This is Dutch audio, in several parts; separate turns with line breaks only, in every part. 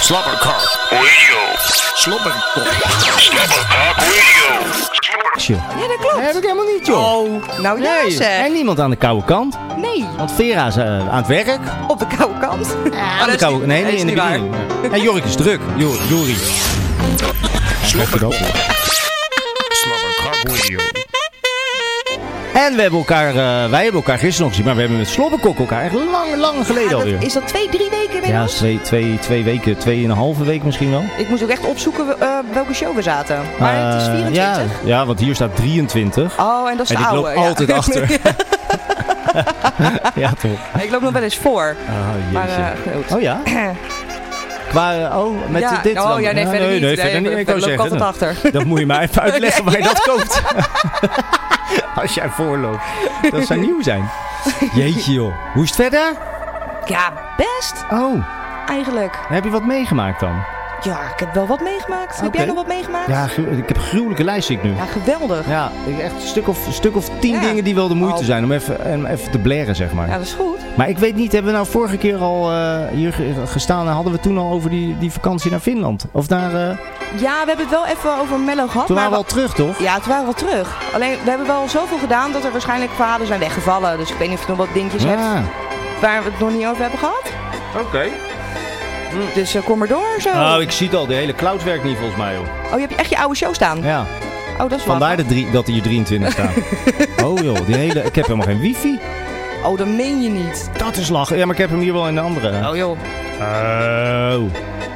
Slobberkok. Slobberkok.
Ja, dat klopt.
heb ik helemaal niet, joh.
Oh, nou ja
Nee,
zeg.
en niemand aan de koude kant.
Nee,
Want Vera is eh, aan het werk.
op de koude kant. Ah,
aan
dat
de
is
koude
niet-
Nee,
dat
niet
is
in de
niet waar.
bediening. En Jorik is druk. Jo Jori.
Slobberkok Radio.
En we hebben elkaar, eh, wij hebben elkaar gisteren nog gezien, maar we hebben met Slobberkok elkaar echt lang, lang geleden
Ja, dat-
alweer.
is dat twee, drie weken
Ja,
inmiddels?
twee, twee, twee weken, tweeënhalve week misschien wel.
Ik moest ook echt opzoeken eh, welke show we zaten. Maar het is
Eh,
24.
ja, ja, want hier staat 23.
Oh, en dat is
En ik
de oude.
loop altijd
ja.
achter. Ja, toch.
ik loop nog wel eens voor.
Oh,
Maar
jeetje.
eh, goed.
Oh ja? Qua, eh, oh, met
Ja,
dit
Oh
dan?
ja, nee,
Ah,
verder niet.
Nee, verder niet. Ik wou
loop ik altijd
zeggen.
achter.
Dan moet je mij even uitleggen waar je dat koopt. Als jij voorloopt. Dat zou nieuw zijn. Jeetje joh. Hoe is het verder?
Ja, best
Oh,
eigenlijk.
heb je wat meegemaakt dan?
Ja, ik heb wel wat meegemaakt. Heb jij
Oké.
nog wat meegemaakt?
Ja, gru- ik heb een gruwelijke lijst zie ik nu.
Ja, geweldig. Ja.
Ja, ik- echt een stuk of, een stuk of tien
Ja.
dingen die wel de moeite
Oh.
zijn om even, em, even te blaren, zeg maar.
dat is goed.
Maar ik weet niet, hebben we nou vorige keer al eh, hier ge- gestaan en hadden we toen al over die, die vakantie naar Finland? Of naar, eh,
Ja, we hebben het wel even over Mello gehad.
toen
maar
waren we al terug, toch?
Ja, toen waren we wel terug. Alleen, we hebben wel zoveel gedaan dat er waarschijnlijk verhalen zijn weggevallen. Dus ik weet niet of je nog wat dingetjes hebt waar we het nog niet over hebben gehad.
oké.
Dus eh, kom maar door zo.
Nou, ik zie het al, de hele cloud werkt niet volgens mij, joh.
Oh, je hebt echt je oude show staan.
Ja,
Oh, dat is wel.
vandaar de drie, dat hier 23 staan. oh joh, die hele, ik heb helemaal geen wifi.
Oh, dat meen je niet.
Dat is lachen. Ja, maar ik heb hem hier wel in de andere.
Oh joh.
Oh.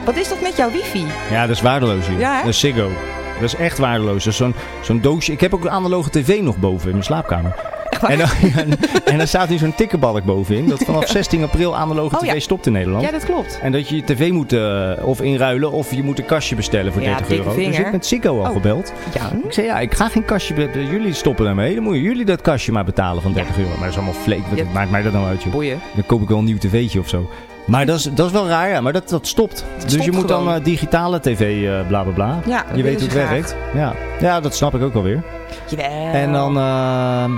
Wat is dat met jouw wifi?
Ja, dat is waardeloos hier.
Ja, hè?
dat is Ziggo. Dat is echt waardeloos. Dat is zo'n zo'n doosje. Ik heb ook een analoge tv nog boven in mijn slaapkamer. En, dan, en, en daar staat nu zo'n tikkenbalk bovenin. Dat vanaf 16 april analoge
Oh,
tv
ja.
stopt in Nederland.
Ja, dat klopt.
En dat je je tv moet eh, of inruilen of je moet een kastje bestellen voor
Ja,
30
dikke
euro. Dus
vinger.
ik met Ziggo al
Oh.
gebeld.
Ja.
Ik zei ja, ik ga geen kastje bestellen. Jullie stoppen daarmee. Dan moeten jullie dat kastje maar betalen van 30 euro. Maar dat is allemaal flake. Wat
Ja.
maakt mij dat nou uit, joh?
Boeien.
Dan koop ik wel een nieuw tv'tje of zo. Maar dat is, dat is wel raar, ja. Maar dat, dat stopt. dus
stopt
je moet dan
gewoon.
eh, digitale tv, eh, bla bla bla.
Ja, dat
je weet
willen
hoe het
ze graag.
werkt. Ja. ja, dat snap ik ook alweer.
Jawel.
En dan... ehm,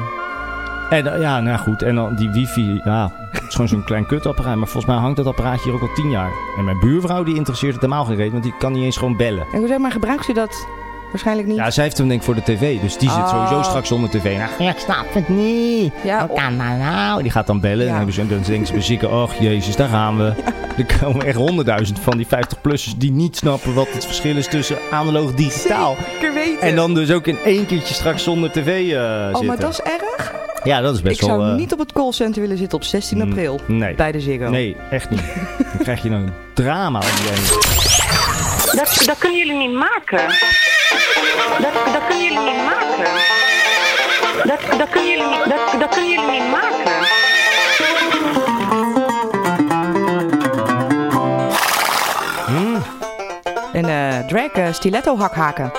en, eh, ja, nou goed. En dan die wifi, ja. Het is gewoon zo'n klein kutapparaat. Maar volgens mij hangt dat apparaatje hier ook al tien jaar. En mijn buurvrouw die interesseert het helemaal geen reet. Want die kan niet eens gewoon bellen.
Ik wil zeggen, maar gebruikt u dat waarschijnlijk niet?
Ja, zij heeft hem denk ik voor de tv. Dus die zit
Oh.
sowieso straks zonder tv. Nou, ja, ik snap het niet.
Ja,
Wat kan dat nou? Die gaat dan bellen.
Ja.
En dan hebben ze- En dan denken ze bij zieken, ach jezus, daar gaan we. Er komen echt honderdduizend van die 50-plussers die niet snappen wat het verschil is tussen analoog en digitaal.
Zeker weten.
En dan dus ook in één keertje straks zonder tv eh
oh,
zitten.
maar dat is erg.
Ja, dat is best
ik
wel...
zou
eh,
niet op het callcenter willen zitten op 16
mm,
april.
nee.
Bij de Ziggo.
Nee, echt niet. Dan krijg je een drama om je heen.
Dat, dat kunnen jullie niet maken. Dat, dat kunnen jullie niet maken. Dat, dat, kunnen jullie, niet- dat, dat kunnen jullie niet maken.
En eh, drag eh, stiletto hakhaken.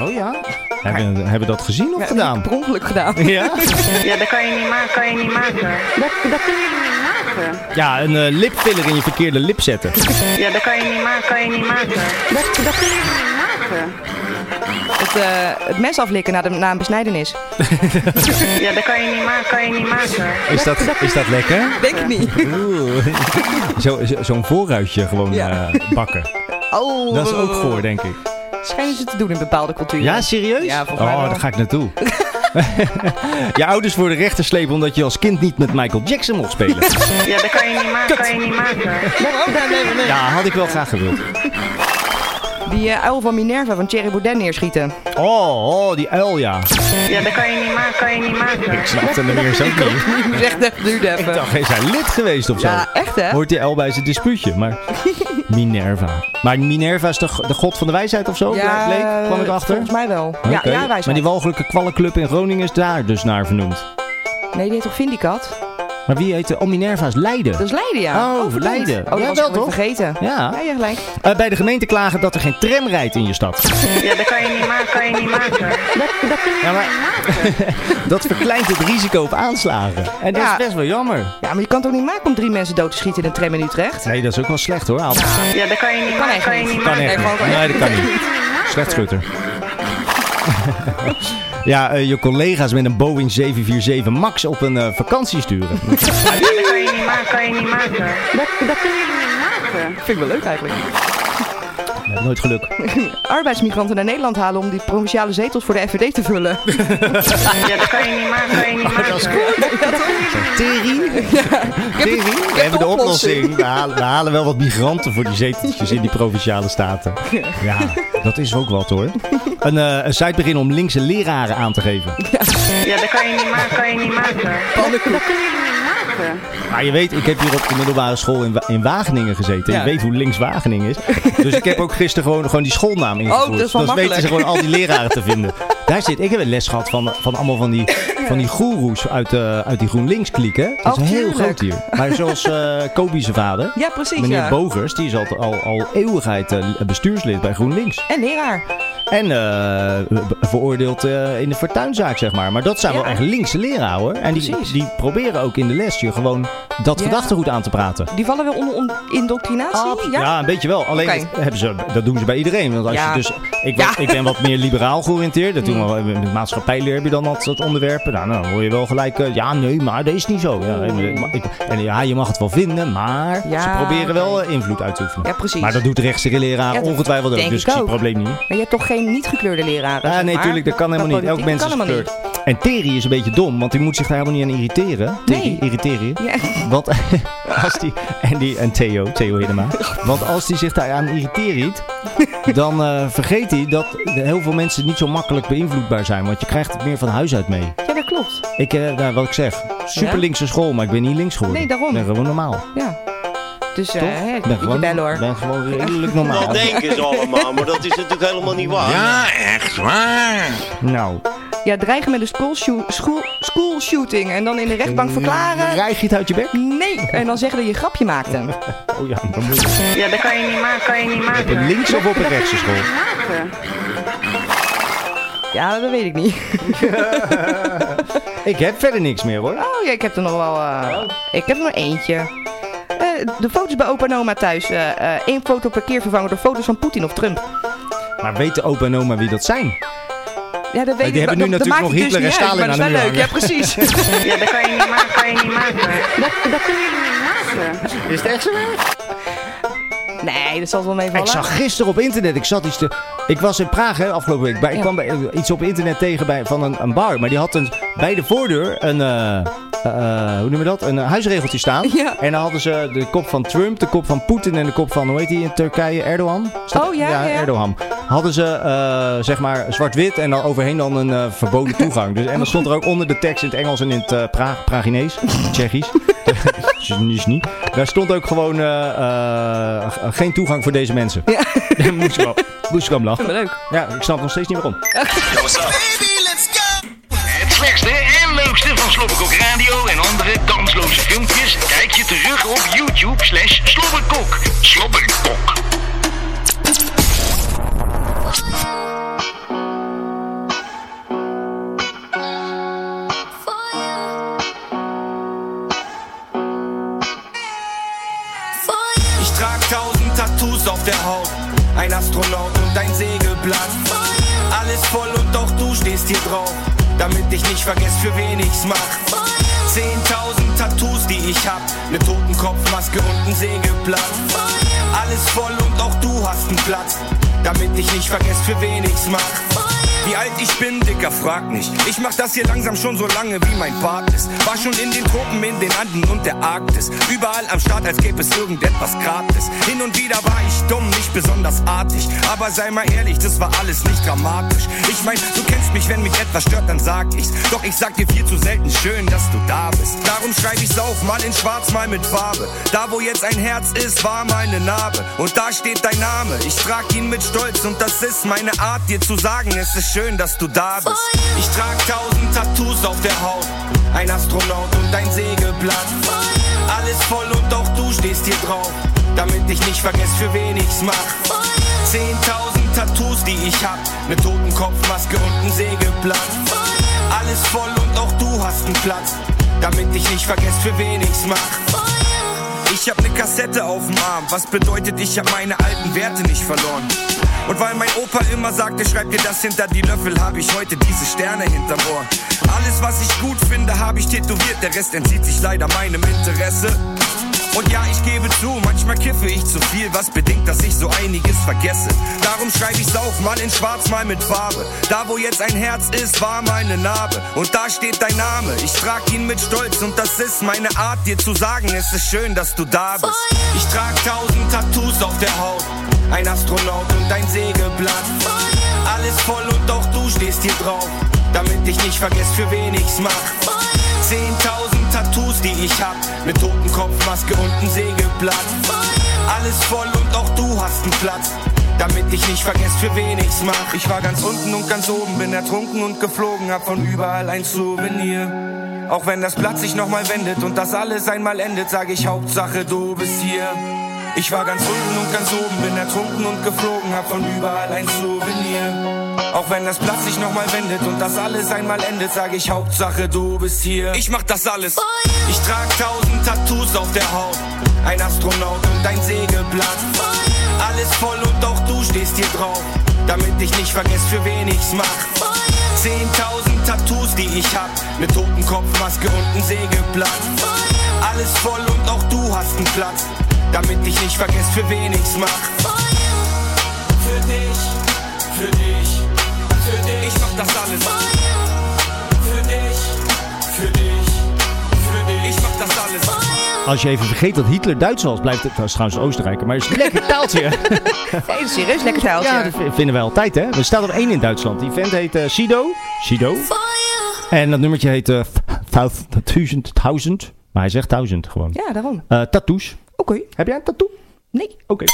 Oh ja? Hebben, hebben we dat gezien of gedaan?
Per ongeluk gedaan.
Ja?
Ja, dat kan je niet maken. Kan je niet maken. Dat, dat kunnen jullie niet maken.
Ja, een eh, lipfiller in je verkeerde lip zetten.
Ja, dat kan je niet maken. Kan je niet maken. Dat, dat kunnen jullie niet maken.
Het, eh, het mes aflikken na, de, na een besnijdenis.
Ja, dat kan je niet maken. Kan je niet maken.
Is dat, is dat lekker?
Denk ik niet.
Oeh. Zo- zo- Zo'n voorruitje gewoon
Ja.
eh, bakken.
Oh,
Dat is ook voor, denk ik.
Schijnen ze te doen in bepaalde culturen.
Ja, serieus?
Ja, volgens mij
oh,
wel.
daar ga ik naartoe. je ouders voor de rechter slepen omdat je als kind niet met Michael Jackson mocht spelen.
Ja, dat kan je niet maken. Kan je niet maken.
Ja, had ik wel graag gewild.
Die eh, uil van Minerva van Thierry Baudet neerschieten.
Oh, oh die uil, ja.
Ja, dat kan je niet maken. Kan je niet maken.
Ik snapte hem eerst ook niet.
Ik moest echt even duurde even.
Ik dacht, is hij lid geweest of zo?
ja, echt hè?
Hoort die uil bij zijn dispuutje, maar... Minerva. Maar Minerva is de, g- de god van de wijsheid of zo?
ja,
bleek, kwam ik
eh,
achter?
Volgens mij wel. Ja,
Oké.
ja, wij
Maar
zijn.
die walgelijke kwallenclub in Groningen is daar dus naar vernoemd.
Nee, die heet toch Vindicat?
Maar wie heet de oh, Minerva is Leiden.
Dat is Leiden, ja.
Oh,
verdomd.
Leiden.
Oh, dat
Ja,
was
wel,
ik alweer
toch?
vergeten.
Ja.
Ja, ja, gelijk.
Eh, bij de gemeente klagen dat er geen tram rijdt in je stad.
Ja, dat kan je niet maken. Kan je niet maken. Dat, dat kunnen jullie
Ja, maar-
niet maken.
Dat verkleint het risico op aanslagen. En dat
Ja.
is best wel jammer.
Ja, maar je kan het ook niet maken om drie mensen dood te schieten in een tram in Utrecht?
Nee, dat is ook wel slecht hoor. Aalt.
Ja, dat kan je niet
Kan
maken.
echt
Kan je
niet.
niet
Kan
maken.
echt
Nee,
niet.
gewoon-
Nee, dat kan niet. Slecht schutter. Ja, eh, je collega's met een Boeing 747 Max op een eh, vakantie sturen.
Dat kan je niet maken, kan je niet maken. Dat, dat kunnen jullie niet maken.
Vind ik wel leuk eigenlijk.
Ja, nooit geluk.
arbeidsmigranten naar Nederland halen om die provinciale zetels voor de FVD te vullen.
Ja, dat kan je niet maken, kan je niet maken.
Terry. We hebben de oplossing. We halen, we halen wel wat migranten voor die zeteltjes in die provinciale staten. Ja, dat is ook wat hoor. Een, eh, een site beginnen om linkse leraren aan te geven.
Ja, dat kan je niet maken, kan je niet maken. Dat kunnen jullie niet maken.
Maar je weet, ik heb hier op de middelbare school in, Wa- in Wageningen gezeten.
Ja.
Je weet hoe links Wageningen is. Dus ik heb ook gisteren gewoon, gewoon die schoolnaam ingevoerd.
Oh, dat is wel
Dan weten
makkelijk.
ze gewoon al die leraren te vinden. Daar zit, ik heb een les gehad van, van allemaal van die, van die goeroes uit, eh, uit die GroenLinks klieken. Dat is
Oh,
heel
tuurlijk.
groot hier. Maar zoals eh Kobi zijn vader.
Ja, precies.
Meneer
ja.
Bogers, die is al, al, al eeuwigheid eh, bestuurslid bij GroenLinks.
En leraar.
En eh, be- veroordeeld eh, in de fortuinzaak, zeg maar. Maar dat zijn wel
Ja.
echt linkse leraren, hoor. En die,
Precies.
die proberen ook in de les je gewoon dat
Ja.
gedachtegoed aan te praten.
Die vallen wel onder on- indoctrinatie?
Absolu- een beetje wel. Alleen
Oké.
dat, hebben ze, dat doen ze bij iedereen. Want als
Ja.
je dus, ik, ben,
Ja. Mm.
ik ben wat meer liberaal georiënteerd. Dat doen we, wel- met maatschappijleer heb je dan dat, dat onderwerp. Nou, dan hoor je wel gelijk, eh, ja, nee, maar dat is niet zo. Ja, en, eh, maar ik- en ja, je mag het wel vinden, maar
Ja,
ze proberen wel
oké.
eh, invloed uit te oefenen.
Ja, precies.
Maar dat doet de rechtse leraar
Ja, dat
ongetwijfeld ook.
denk
Dus ik
ik
zie het
ook.
probleem niet.
Maar je hebt toch geen niet-gekleurde leraren?
Ja,
zeg
Ah, nee,
maar?
tuurlijk, dat kan helemaal niet. Elk
politiek
mens is
kan helemaal
gekleurd. En Terry is een beetje dom, want die moet zich daar helemaal niet aan irriteren. Terry,
Nee.
irriteren.
niet. Ja.
Want als die, en, die, en Theo, Theo Hiddema. Want als die zich daaraan irriteert, dan eh, vergeet hij dat de- heel veel mensen niet zo makkelijk beïnvloedbaar zijn. Want je krijgt het meer van huis uit mee.
ja, dat klopt.
Ik, eh, nou, wat ik zeg, super
Ja?
linkse school, maar ik ben niet links geworden.
Nee, daarom.
Ik ben gewoon normaal.
Ja. Dus eh,
Toch?
hè,
Ik
ik ben bellen hoor.
ben gewoon redelijk normaal.
Dat denken ze allemaal, maar dat is natuurlijk helemaal niet waar.
Ja, Ah, echt waar.
Nou,
Ja, dreigen met een school, school, school shooting en dan in de rechtbank verklaren.
rijg je het uit je bek?
Nee. En dan zeggen dat je een grapje maakte.
Oh ja, dan moet je.
Ja, dat kan je niet maken, kan je niet
Op een
maken.
links of op een rechtse school?
Maken.
Ja, dat weet ik niet.
Ik heb verder niks meer hoor.
Oh ja, ik heb er nog wel. eh, Ik heb er nog eentje. Eh, de foto's bij opa en oma thuis. eh eh, één foto per keer vervangen door foto's van Poetin of Trump.
Maar weten opa en oma wie dat zijn?
Ja, dat weet ik
hebben
maar
nu
dat- dat
natuurlijk
maakt
nog Hitler
het
en
dus niet uit,
Stalin
maar dat is
aan
wel
de
leuk. Ja, precies.
Ja, dat kan je niet maken, kan je niet maken. Dat, dat kunnen jullie niet maken.
Is het echt zo?
nee, dat zal het wel mee
Ik
vallen.
zag gisteren op internet, ik zat iets te... Ik was in Praag hè, afgelopen week, maar ik
Ja.
kwam bij, eh, iets op internet tegen bij, van een, een bar. Maar die had een, bij de voordeur een, eh, eh, hoe noem je dat, een eh, huisregeltje staan.
Ja.
En dan hadden ze de kop van Trump, de kop van Poetin en de kop van, hoe heet die in Turkije, Erdogan? Is dat-
Oh, ja, ja, ja.
Erdogan. Hadden ze, eh, zeg maar, zwart-wit en dan overheen dan een eh, verboden toegang. Dus, en dan stond er ook onder de tekst in het Engels en in het eh, Pra- Praginees, Tsjechisch. Dus niet. Daar stond ook gewoon eh, eh, ge- geen toegang voor deze mensen.
Ja.
Daar moest ik wel- moest ik wel om lachen.
Leuk.
Ja, ik snap nog steeds niet waarom.
Het beste en leukste van Slobberkok Radio en andere kansloze filmpjes kijk je terug op YouTube slash Slobberkok. Slobberkok.
For you, for you,
Ich trag tausend Tattoos auf der Haut, ein Astronaut und ein Segelblatt.
for you,
Alles voll und auch du stehst hier drauf, damit ich nicht vergesse, für wen ich's mach.
for you,
Zehntausend Tattoos, die ich hab, ne Totenkopfmaske und ein Sägeblatt.
for you,
Alles voll und auch du hast einen Platz, damit ich nicht vergesse, für wen ich's mach.
for you,
Wie alt ich bin, Dicker, frag nicht. Ich mach das hier langsam schon so lange, wie mein Bart ist. War schon in den Tropen, in den Anden und der Arktis. Überall am Start, als gäbe es irgendetwas gratis. Hin und wieder war ich dumm, nicht besonders artig. Aber sei mal ehrlich, das war alles nicht dramatisch. Ich mein, du kennst mich, wenn mich etwas stört, dann sag ich's. Doch ich sag dir viel zu selten, schön, dass du da bist. Darum schreib ich's auf, mal in schwarz, mal mit Farbe. Da, wo jetzt ein Herz ist, war meine Narbe. Und da steht dein Name. Ich trag ihn mit Stolz und das ist meine Art, dir zu sagen, es ist schön, dass du da bist. Ich trag tausend Tattoos auf der Haut. Ein Astronaut und ein Sägeblatt. Alles voll und auch du stehst hier drauf. Damit ich nicht vergesse, für wen ich's mach.
for you,
Zehntausend Tattoos, die ich hab. Eine Totenkopfmaske und ein Sägeblatt. Alles voll und auch du hast einen Platz. Damit ich nicht vergesse, für wen ich's mach.
for you.
Ich hab ne Kassette auf dem Arm, was bedeutet, ich hab meine alten Werte nicht verloren. Und weil mein Opa immer sagte, schreib dir das hinter die Löffel, hab ich heute diese Sterne hinterm Ohr. Alles, was ich gut finde, hab ich tätowiert, der Rest entzieht sich leider meinem Interesse. Und ja, ich gebe zu, manchmal kiffe ich zu viel, was bedingt, dass ich so einiges vergesse. Darum schreibe ich's auf, mal in schwarz, mal mit Farbe. Da, wo jetzt ein Herz ist, war meine Narbe. Und da steht dein Name, ich trag ihn mit Stolz und das ist meine Art, dir zu sagen, es ist schön, dass du da bist. Ich trag tausend Tattoos auf der Haut, ein Astronaut und ein Sägeblatt. Alles voll und auch du stehst hier drauf, damit ich nicht vergesse, für wen ich's mach. 10.000 Tattoos, die ich hab, mit Totenkopfmaske und ein Sägeblatt. Alles voll und auch du hast einen Platz. Damit ich nicht vergesse, für wen ich's mach. Ich war ganz unten und ganz oben, bin ertrunken und geflogen, hab von überall ein Souvenir. Auch wenn das Blatt sich nochmal wendet und das alles einmal endet, sag ich Hauptsache, du bist hier. Ich war ganz unten und ganz oben, bin ertrunken und geflogen, hab von überall ein Souvenir. Auch wenn das Blatt sich nochmal wendet und das alles einmal endet, sag ich Hauptsache du bist hier. Ich mach das alles. Ich trag tausend Tattoos auf der Haut, ein Astronaut und ein Sägeblatt. Alles voll und auch du stehst hier drauf, damit ich nicht vergesse, für wen ich's mach. 10.000 Tattoos, die ich hab, mit Totenkopfmaske und ein Sägeblatt. Alles voll und auch du hast einen Platz, damit ich nicht vergesse, für wen ich's mach. Für dich, für dich, für dich. Ich mach das alles. Für dich, für dich, für dich. Ich mach das alles.
Als je even vergeet dat Hitler Duits was, blijft het... Dat is trouwens Oostenrijker, maar het is een lekker taaltje.
Hey, serieus, lekker taaltje.
ja, dat v- vinden wij altijd, hè. Er staat er één in Duitsland. Die vent heet eh, Sido. Sido. En dat nummertje heet... eh, Vijf- Duizend, Duizend. Maar hij zegt duizend gewoon.
Ja, daarom.
Eh, tattoos.
Oké.
Heb jij een tattoo?
Nee.
Oké.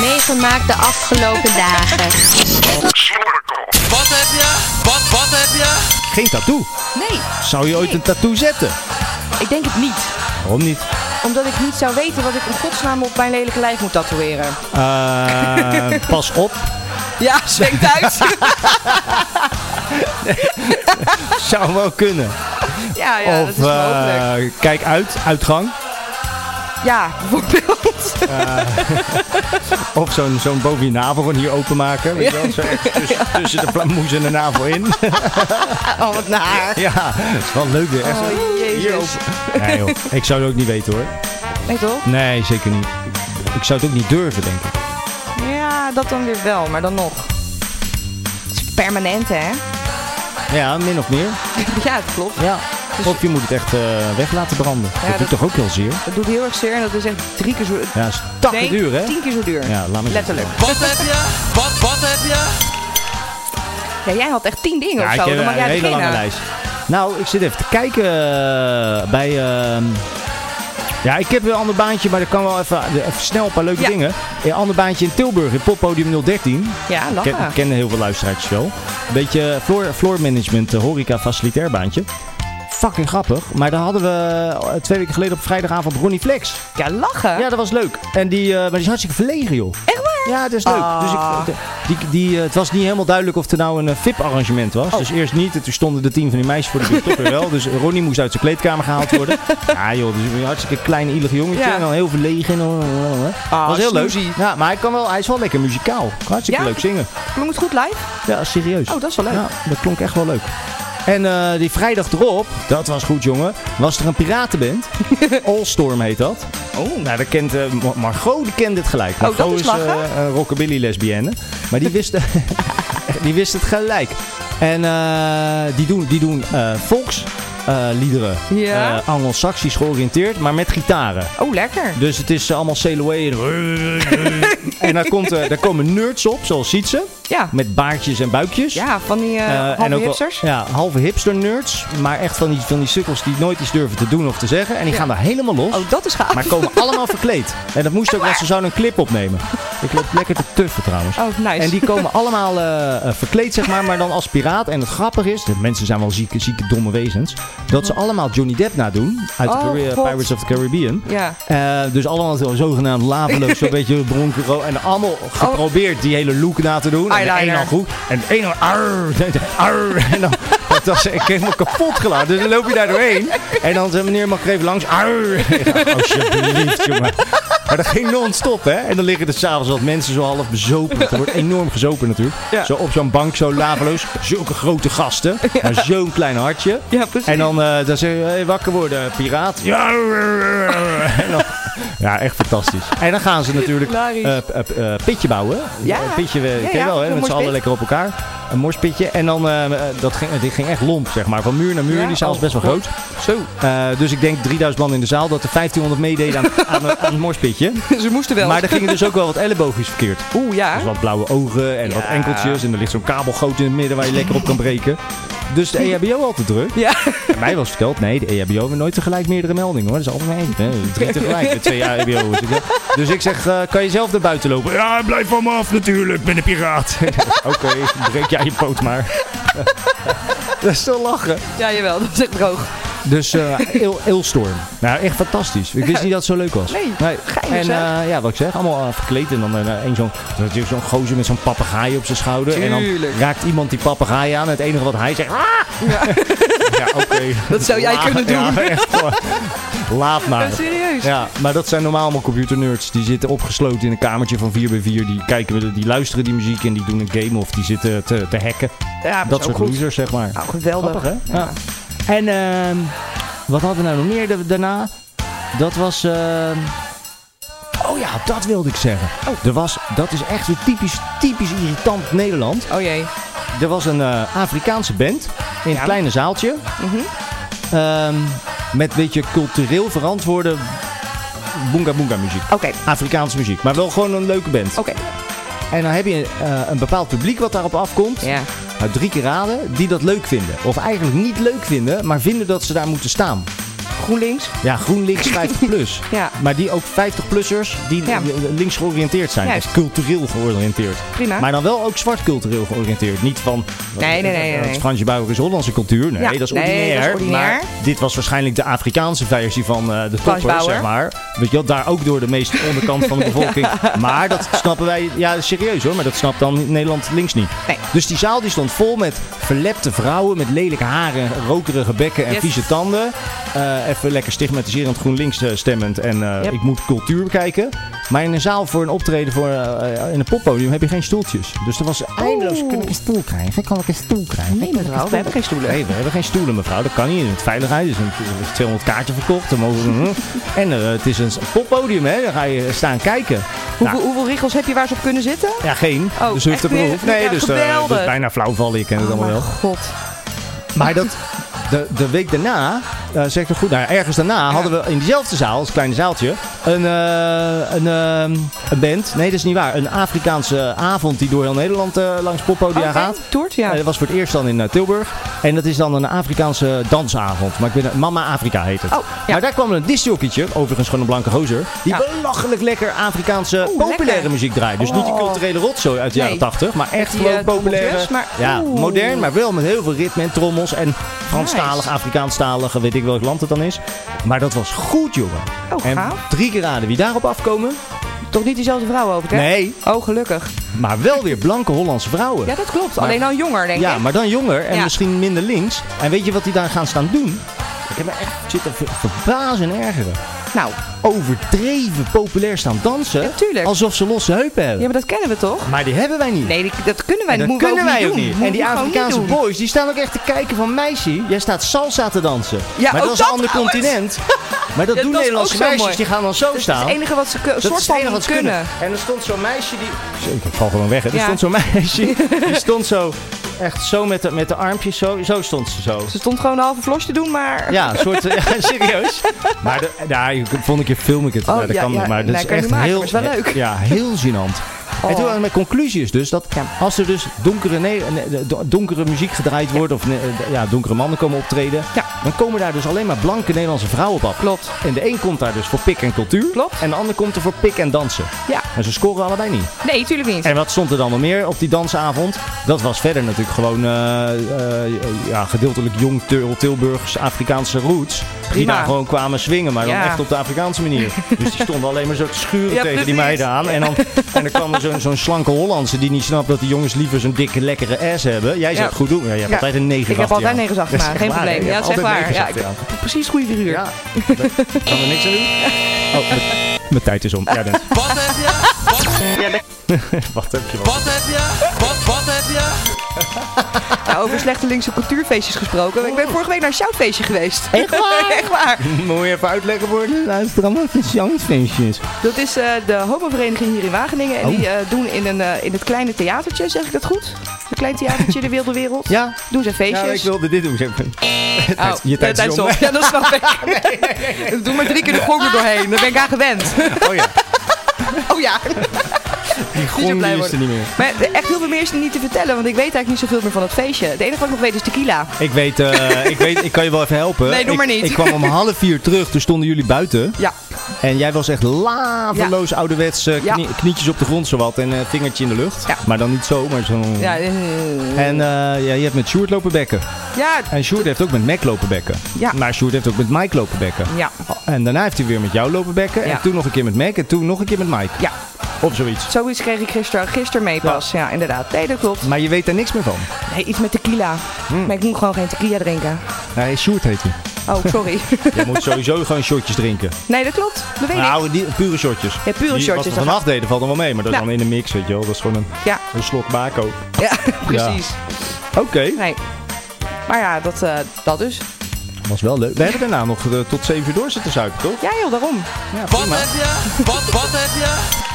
Meegemaakt de afgelopen dagen.
Slobberkok.
Geen tattoo.
Nee,
Zou je ooit een tattoo zetten?
ik denk het niet.
Waarom niet?
Omdat ik niet zou weten wat ik in godsnaam op mijn lelijke lijf moet tatoeëren.
Eh, pas op.
Ja, zwengt uit.
Zou wel kunnen.
ja, ja, dat
of
is wel mogelijk.
eh, kijk uit, uitgang.
Ja, bijvoorbeeld.
Of zo'n zo'n boven je navel gewoon hier openmaken. Weet je wel? Zo echt tussen, tussen de flamoes en de navel in.
Oh, wat naar.
ja, dat is wel leuk weer. Echt zo
Oh, jezus.
hier open. Nee joh, ik zou het ook niet weten hoor.
Nee, toch?
Nee, zeker niet. Ik zou het ook niet durven, denk ik.
Ja, dat dan weer wel, maar dan nog. Het is permanent, hè?
Ja, min of meer.
Ja, het klopt.
Ja. Of je moet het echt eh, weg laten branden. dat,
Dus- dat-
doet toch ook heel zeer?
Dat doet heel erg zeer en dat is echt drie keer zo...
Ja, dat is takken
nee,
duur hè?
tien keer zo duur.
Ja, laat me
Letterlijk. Ja, jij had echt tien dingen
Ja,
of
ik
zo.
heb
Dan mag
een
jij
hele lange
beginnen.
lijst. Nou, ik zit even te kijken eh, bij... ehm, ja, ik heb weer een ander baantje, maar dat kan wel even, eh, even snel een paar leuke
Ja.
dingen. Een ander baantje in Tilburg, in Poppodium 013.
Ja,
Ik ken,
lachen.
kennen heel veel luisteraars wel. Een beetje floor, floor management, eh, horeca, facilitair baantje. Fucking grappig. Maar daar hadden we eh, twee weken geleden op vrijdagavond Ronnie Flex.
Ja, lachen.
Ja, dat was leuk. En die, eh, maar die is hartstikke verlegen, joh.
Echt waar?
Ja, dat is leuk.
Ah.
Dus ik, die, die, eh, het was niet helemaal duidelijk of er nou een VIP-arrangement was. Dus eerst niet. En toen stonden de tien van die meisjes voor de deur. Toch weer wel. Dus Ronnie moest uit zijn kleedkamer gehaald worden. ja, joh. Dus een hartstikke klein, ielig jongetje.
Ja.
En dan heel verlegen. Dat was heel leuk. Ja, maar hij, kan wel, hij is wel lekker muzikaal. Kan Hartstikke
Ja?
leuk zingen.
Maar moet goed live?
Ja, serieus.
Oh, dat is wel leuk.
Ja, dat klonk echt wel leuk. En eh, die vrijdag erop, dat was goed jongen, was er een piratenband. Allstorm heet dat. Oh. Nou, dat kent, eh, Mar- Margot die kende het gelijk.
Oh, dat
Margot
is
eh,
lachen.
een rockabilly lesbienne. Maar die wist, die wist het gelijk. En eh, die doen, die doen eh, volks... eh, liederen.
Ja.
Eh, Anglo-Saxisch georiënteerd, maar met gitaren.
Oh, lekker.
Dus het is eh, allemaal Sailaway. en daar, komt, eh, daar komen nerds op, zoals Sietse.
Ja.
Met baardjes en buikjes.
Ja, van die eh
Eh,
halve
en ook wel-
hipsters.
ja, halve hipster nerds. Maar echt van die, van die sukkels die nooit iets durven te doen of te zeggen. En die gaan daar helemaal los.
Oh, dat is gaaf.
Maar komen allemaal verkleed. En dat moest ook, want ze zouden een clip opnemen. Ik loop lekker te tuffen trouwens.
Oh, nice.
En die komen allemaal eh, eh, verkleed, zeg maar, maar dan als piraat. En het grappige is, de mensen zijn wel zieke, zieke, domme wezens. Dat ze allemaal Johnny Depp nadoen. Uit
Hm. Oh,
de Carri-
God.
Pirates of the Caribbean.
Ja.
Eh, dus allemaal zo, zogenaamd laveloos, zo'n beetje dronken. ro- En allemaal geprobeerd die hele look na te doen. En de
Eyeliner.
een al goed. En de een al arr, arr. En dan, dat was ik helemaal kapot gelaten. Dus dan loop je daar doorheen. En dan zegt meneer, mag ik er even langs? Arr. Ja, alsjeblieft, jongen. Maar dat ging non-stop, hè? En dan liggen er s'avonds wat mensen zo half bezopen. Er wordt enorm gezopen natuurlijk.
Ja.
Zo op zo'n bank, zo laveloos. Zulke grote gasten. Maar zo'n klein hartje.
Ja, precies.
En dan, eh dan zeg je, hey, wakker worden, piraat. Ja, en dan- ja, echt fantastisch. En dan gaan ze natuurlijk
Hilarisch.
eh, eh, eh, pitje bouwen.
Ja.
Eh, pitje, eh,
Ja,
ken je
ja,
wel, hè?
zo'n
Met z'n allen
morspit.
lekker op elkaar. Een morspitje. En dan, eh, eh, dat ging, dit ging echt lomp, zeg maar. Van muur naar muur.
Ja,
die zaal is
oh,
best wel
God.
groot.
Zo,
Eh, dus ik denk 3000 man in de zaal, dat er 1500 meededen aan, aan, aan het morspitje.
ze moesten wel.
Maar er gingen dus ook wel wat elleboogjes verkeerd.
Oeh, ja.
Dus wat blauwe ogen en wat
Ja.
enkeltjes. En er ligt zo'n kabelgoot in het midden waar je lekker op kan breken. Dus de EHBO altijd druk.
Ja,
En mij was verteld, nee, de E EHBO hebben nooit tegelijk meerdere meldingen hoor. Dat is altijd maar één. Nee, drie tegelijk, de twee E EHBO's. Ik zeg, Dus ik zeg, eh, kan je zelf naar buiten lopen? Ja, blijf van me af natuurlijk, ik ben een piraat. Oké, breek jij je poot maar. Dat is zo lachen.
ja jawel, dat is echt droog.
Dus eh Il- Ilstorm. Nou, echt fantastisch. Ik wist niet dat het zo leuk was.
Nee, geinig,
En
zeg.
eh, ja, wat ik zeg, allemaal eh, verkleed. En dan eh, één zo'n zo'n zo'n gozer met zo'n papegaai op zijn schouder. En dan
Tuurlijk.
raakt iemand die papegaai aan. Het enige wat hij zegt... "Ah!"
Ja.
Ja, oké.
Dat zou jij
La-
kunnen doen.
Ja, echt gewoon. Laat maar.
Serieus.
Ja, maar dat zijn normaal allemaal computernerds. Die zitten opgesloten in een kamertje van 4x4. Die, kijken, die luisteren die muziek en die doen een game of die zitten te, te hacken.
Ja,
Dat
is ook
soort
goed.
losers, zeg maar.
Nou, geweldig.
Grappig, hè? Ja. En ehm, wat hadden we nou nog meer da- daarna? Dat was... ehm, Oh ja, dat wilde ik zeggen. Er was, dat is echt weer typisch, typisch irritant Nederland.
Oh jee.
Er was een eh, Afrikaanse band in een kleine zaaltje. Ehm, met een beetje cultureel verantwoorde boonga boonga muziek.
Oké,
Afrikaanse muziek, maar wel gewoon een leuke band.
oké.
En dan heb je eh, een bepaald publiek wat daarop afkomt.
Ja.
Nou, drie keer raden die dat leuk vinden. Of eigenlijk niet leuk vinden, maar vinden dat ze daar moeten staan.
GroenLinks.
Ja, GroenLinks 50 plus.
Ja.
Maar die ook 50-plussers die
Ja.
links georiënteerd zijn.
Juist.
Of cultureel georiënteerd.
Prima.
Maar dan wel ook zwart cultureel georiënteerd. Niet van
Nee, nee, nee, nee, nee.
het Fransje Bauer is Hollandse cultuur. Nee,
Ja.
dat is
Nee, dat is
ordinair.
ordinair.
Maar dit was waarschijnlijk de Afrikaanse versie van eh, de toppers,
Bauer.
zeg maar. Weet je wel, daar ook door de meest onderkant van de bevolking. Maar dat snappen wij, ja serieus hoor, maar dat snapt dan Nederland links niet.
Nee.
Dus die zaal die stond vol met verlepte vrouwen met lelijke haren, rokerige bekken en
Yes.
vieze tanden. Eh, even lekker stigmatiserend GroenLinks eh, stemmend en eh,
Yep.
ik moet cultuur bekijken. Maar in een zaal voor een optreden voor, eh, eh, in een poppodium heb je geen stoeltjes. Dus er was eindeloos... Kan ik een stoel krijgen? Kan ik een stoel krijgen?
Nee, mevrouw, we hebben geen stoelen.
Nee, we hebben geen stoelen, mevrouw. Dat kan niet. Het veiligheid is een- 200 kaarten verkocht. Dan mogen we... en eh, het is een poppodium, hè. Daar ga je staan kijken. Nou,
Hoeveel, hoeveel regels heb je waar ze op kunnen zitten?
ja, geen.
Oh,
dus hoeft er
echt niet?
proef. Nee,
Ja,
dus eh,
geweldig. Oh
dat is bijna flauwvallen. Ik ken het allemaal
mijn
wel.
god.
Maar dat, de, de week daarna, eh, zeg ik het goed, nou, ja, ergens daarna hadden we in diezelfde zaal, als kleine zaaltje, een, eh, een, ehm, een band. Nee, dat is niet waar. Een Afrikaanse avond die door heel Nederland eh, langs poppodia
Oké,
gaat.
Toert, ja.
Eh, dat was voor het eerst dan in eh, Tilburg. En dat is dan een Afrikaanse dansavond. Maar ik weet het- Mama Afrika heet het.
Oh, ja.
Maar daar kwam een discjockeytje, overigens gewoon een blanke gozer, die
Ja.
belachelijk lekker Afrikaanse
Oeh,
populaire
lekker.
muziek draait. Dus niet die
Oh.
culturele rotzooi uit de
Nee.
jaren 80, maar echt
Die,
gewoon
eh,
populaire.
trommeltjes, maar-
ja,
Oeh.
modern, maar wel met heel veel ritme en trommels. En Franstalig,
Nice.
Afrikaanstalig, weet ik welk land het dan is. Maar dat was goed, jongen.
Oh,
en
gaaf.
drie keer raden wie daarop afkomen.
Toch niet diezelfde vrouw over, hè?
Nee,
Oh, gelukkig.
maar wel weer blanke Hollandse vrouwen.
Ja, dat klopt. Alleen al jonger, denk
Ja,
ik.
maar dan jonger en
Ja.
misschien minder links. En weet je wat die daar gaan staan doen? Ik heb me echt zitten ver- verbazen en ergeren.
Nou,
Overdreven populair staan dansen.
Ja, tuurlijk.
Alsof ze losse heupen hebben.
ja, maar dat kennen we toch?
maar... die hebben wij niet.
Nee, die- dat kunnen wij
En
niet.
dat
Moeten we
kunnen wij ook
doen.
niet.
Moeten
En die
we gewoon niet
Afrikaanse
doen.
boys, die staan ook echt te kijken van meisje, jij staat salsa te dansen.
Ja,
maar
ook
dat is een
dat
ander
trouwens.
continent. Maar dat
Ja,
doen
dat is
Nederlandse
ook zo
meisjes,
mooi.
die gaan dan zo
Dat is
staan.
het enige wat ze kun-
Dat
soort
is het enige
van
wat ze
kunnen.
En er stond zo'n meisje die... Ik val gewoon weg. hè. Er
Ja.
stond zo'n meisje, die stond zo, echt zo met de, met de armpjes, zo, zo stond ze zo.
Ze stond gewoon een halve flosje te doen, maar...
Ja, een soort, ja, serieus. Maar de, nou, ik- volgende keer film ik het.
Oh,
maar dat
ja,
kan
ja,
niet, maar dat
nou,
is
kan je
echt
niet maken,
heel,
maar is wel leuk. Oh.
Ja, heel gênant. En toen, eh, mijn conclusie is dus dat
Ja.
als er dus donkere, ne- ne- do- donkere muziek gedraaid wordt of ne- eh, ja, donkere mannen komen optreden,
Ja.
dan komen daar dus alleen maar blanke Nederlandse vrouwen op af.
Klopt.
En de een komt daar dus voor pik en cultuur
Klopt.
en de ander komt er voor pik en dansen.
Ja.
En ze scoren allebei niet.
Nee, tuurlijk niet.
En wat stond er dan nog meer op die dansavond? Dat was verder natuurlijk gewoon eh, eh, ja, gedeeltelijk jong Til- Tilburgs Afrikaanse roots. Die
Prima.
daar gewoon kwamen swingen, maar dan
Ja.
echt op de Afrikaanse manier. Dus die stonden alleen maar zo te schuren
Ja,
tegen die
precies.
meiden aan. En dan en er kwam er zo'n zo'n slanke Hollandse die niet snapt dat die jongens liever zo'n dikke, lekkere ass hebben. Jij zou
Ja.
het goed doen. Ja, je hebt
Ja.
altijd een negen
Ik heb altijd negen zacht gedaan, geen probleem. Ja, dat is echt waar. Ja, ik- Precies goede figuur.
ja, daar kan er niks aan doen. Oh, Mijn tijd is om. Ja, dat-
Wat heb je?
Ja, dat
Wat heb je wel?
Wat heb je? Wat, wat heb je?
Nou, over slechte linkse cultuurfeestjes gesproken. Ik ben vorige week naar een shoutfeestje geweest.
Echt waar?
Echt waar.
Moet je even uitleggen voor de luisteraar wat een sjouwfeestje is.
Dat is eh, de homovereniging hier in Wageningen. En
Oh.
die eh, doen in, een, eh, in het kleine theatertje, zeg ik dat goed? Een klein theatertje in de wilde wereld.
Ja,
Doen ze feestjes.
ja ik wilde dit doen. zeg maar.
Oh,
je tijd is om.
Ja, dat snap ik. Doe maar drie keer de gong er doorheen. Daar ben ik aan gewend.
Oh ja,
Oh ja.
die
je
grond
blij
die is er
worden.
niet meer.
Maar echt heel veel meer is er niet te vertellen, want ik weet eigenlijk niet zoveel meer van het feestje. Het enige wat ik nog weet is tequila.
Ik weet, eh, ik weet, ik kan je wel even helpen.
Nee, doe
Ik-
maar niet.
Ik kwam om half vier terug, toen stonden jullie buiten.
Ja.
En jij was echt laveloos ouderwets, eh,
Ja.
knie- knietjes op de grond zowat en eh, vingertje in de lucht.
Ja.
Maar dan niet zo, maar zo.
Ja, eh,
En eh, ja, je hebt met Sjoerd lopen bekken.
ja,
En Sjoerd heeft ook met Mac lopen bekken.
Ja.
Maar Sjoerd heeft ook met Mike lopen bekken.
ja,
En daarna heeft hij weer met jou lopen bekken.
Ja.
En toen nog een keer met Mac. En toen nog een keer met Mike.
ja.
Of zoiets.
Zoiets kreeg ik gisteren gister mee pas. Ja. inderdaad. Nee, dat klopt.
Maar Hmm. je weet daar niks meer van.
Nee, iets met tequila. Maar ik moet gewoon geen tequila drinken.
Nee, Sjoerd heet hij.
Oh, sorry.
Je moet sowieso gewoon shotjes drinken.
nee, dat klopt. Dat weet ik.
Nou, die, pure shotjes.
Ja, pure
die,
shotjes,
Wat we
dat
vannacht deden valt dan wel mee. Maar dat is
Nou.
dan in de mix, weet je wel. Dat is gewoon een,
Ja,
een slok bako.
ja precies.
Oké,
Nee. Maar ja, dat, eh, dat dus.
was wel leuk. We hebben daarna nog eh, tot 7 uur door zitten zuipen, toch?
Ja, joh, daarom.
Ja,
Wat heb je? Wat, wat heb je?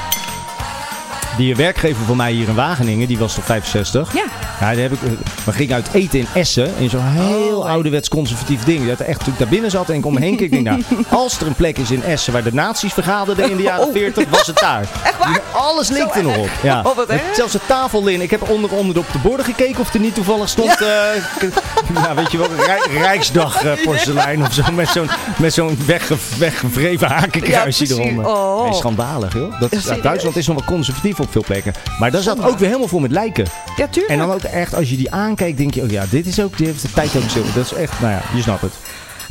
Die werkgever van mij hier in Wageningen, die was tot 65.
Ja.
Ja, daar heb ik, eh, we gingen uit eten in Essen. In zo'n heel ouderwets conservatief ding. Dat er echt, toen ik daar binnen zat en ik om me heen keek, denk ik, nou, als er een plek is in Essen waar de nazi's vergaderden in de jaren
Oh.
40, was het daar.
Echt waar?
Hier, Alles leek er nog op. Ja.
Oh, wat
Met
erg.
Zelfs de tafellin. Ik heb onder, onder op de borden gekeken of er niet toevallig stond, ja. ja, weet je wel, Rij- Rijksdag eh, porselein of zo. Met zo'n, met zo'n wegge, weggevreven hakenkruisje
Ja, precies.
eronder.
Oh.
Nee, eh, schandalig, joh. Dat, is- ja,
Serieus?
Duitsland is nog wel conservatief op veel plekken. Maar daar zat ook weer helemaal vol met lijken.
Ja, tuurlijk.
En dan ook echt, als je die aankijkt, denk je, oh ja, dit is ook, die heeft de tijd ook stil. Dat is echt, nou ja, je snapt het.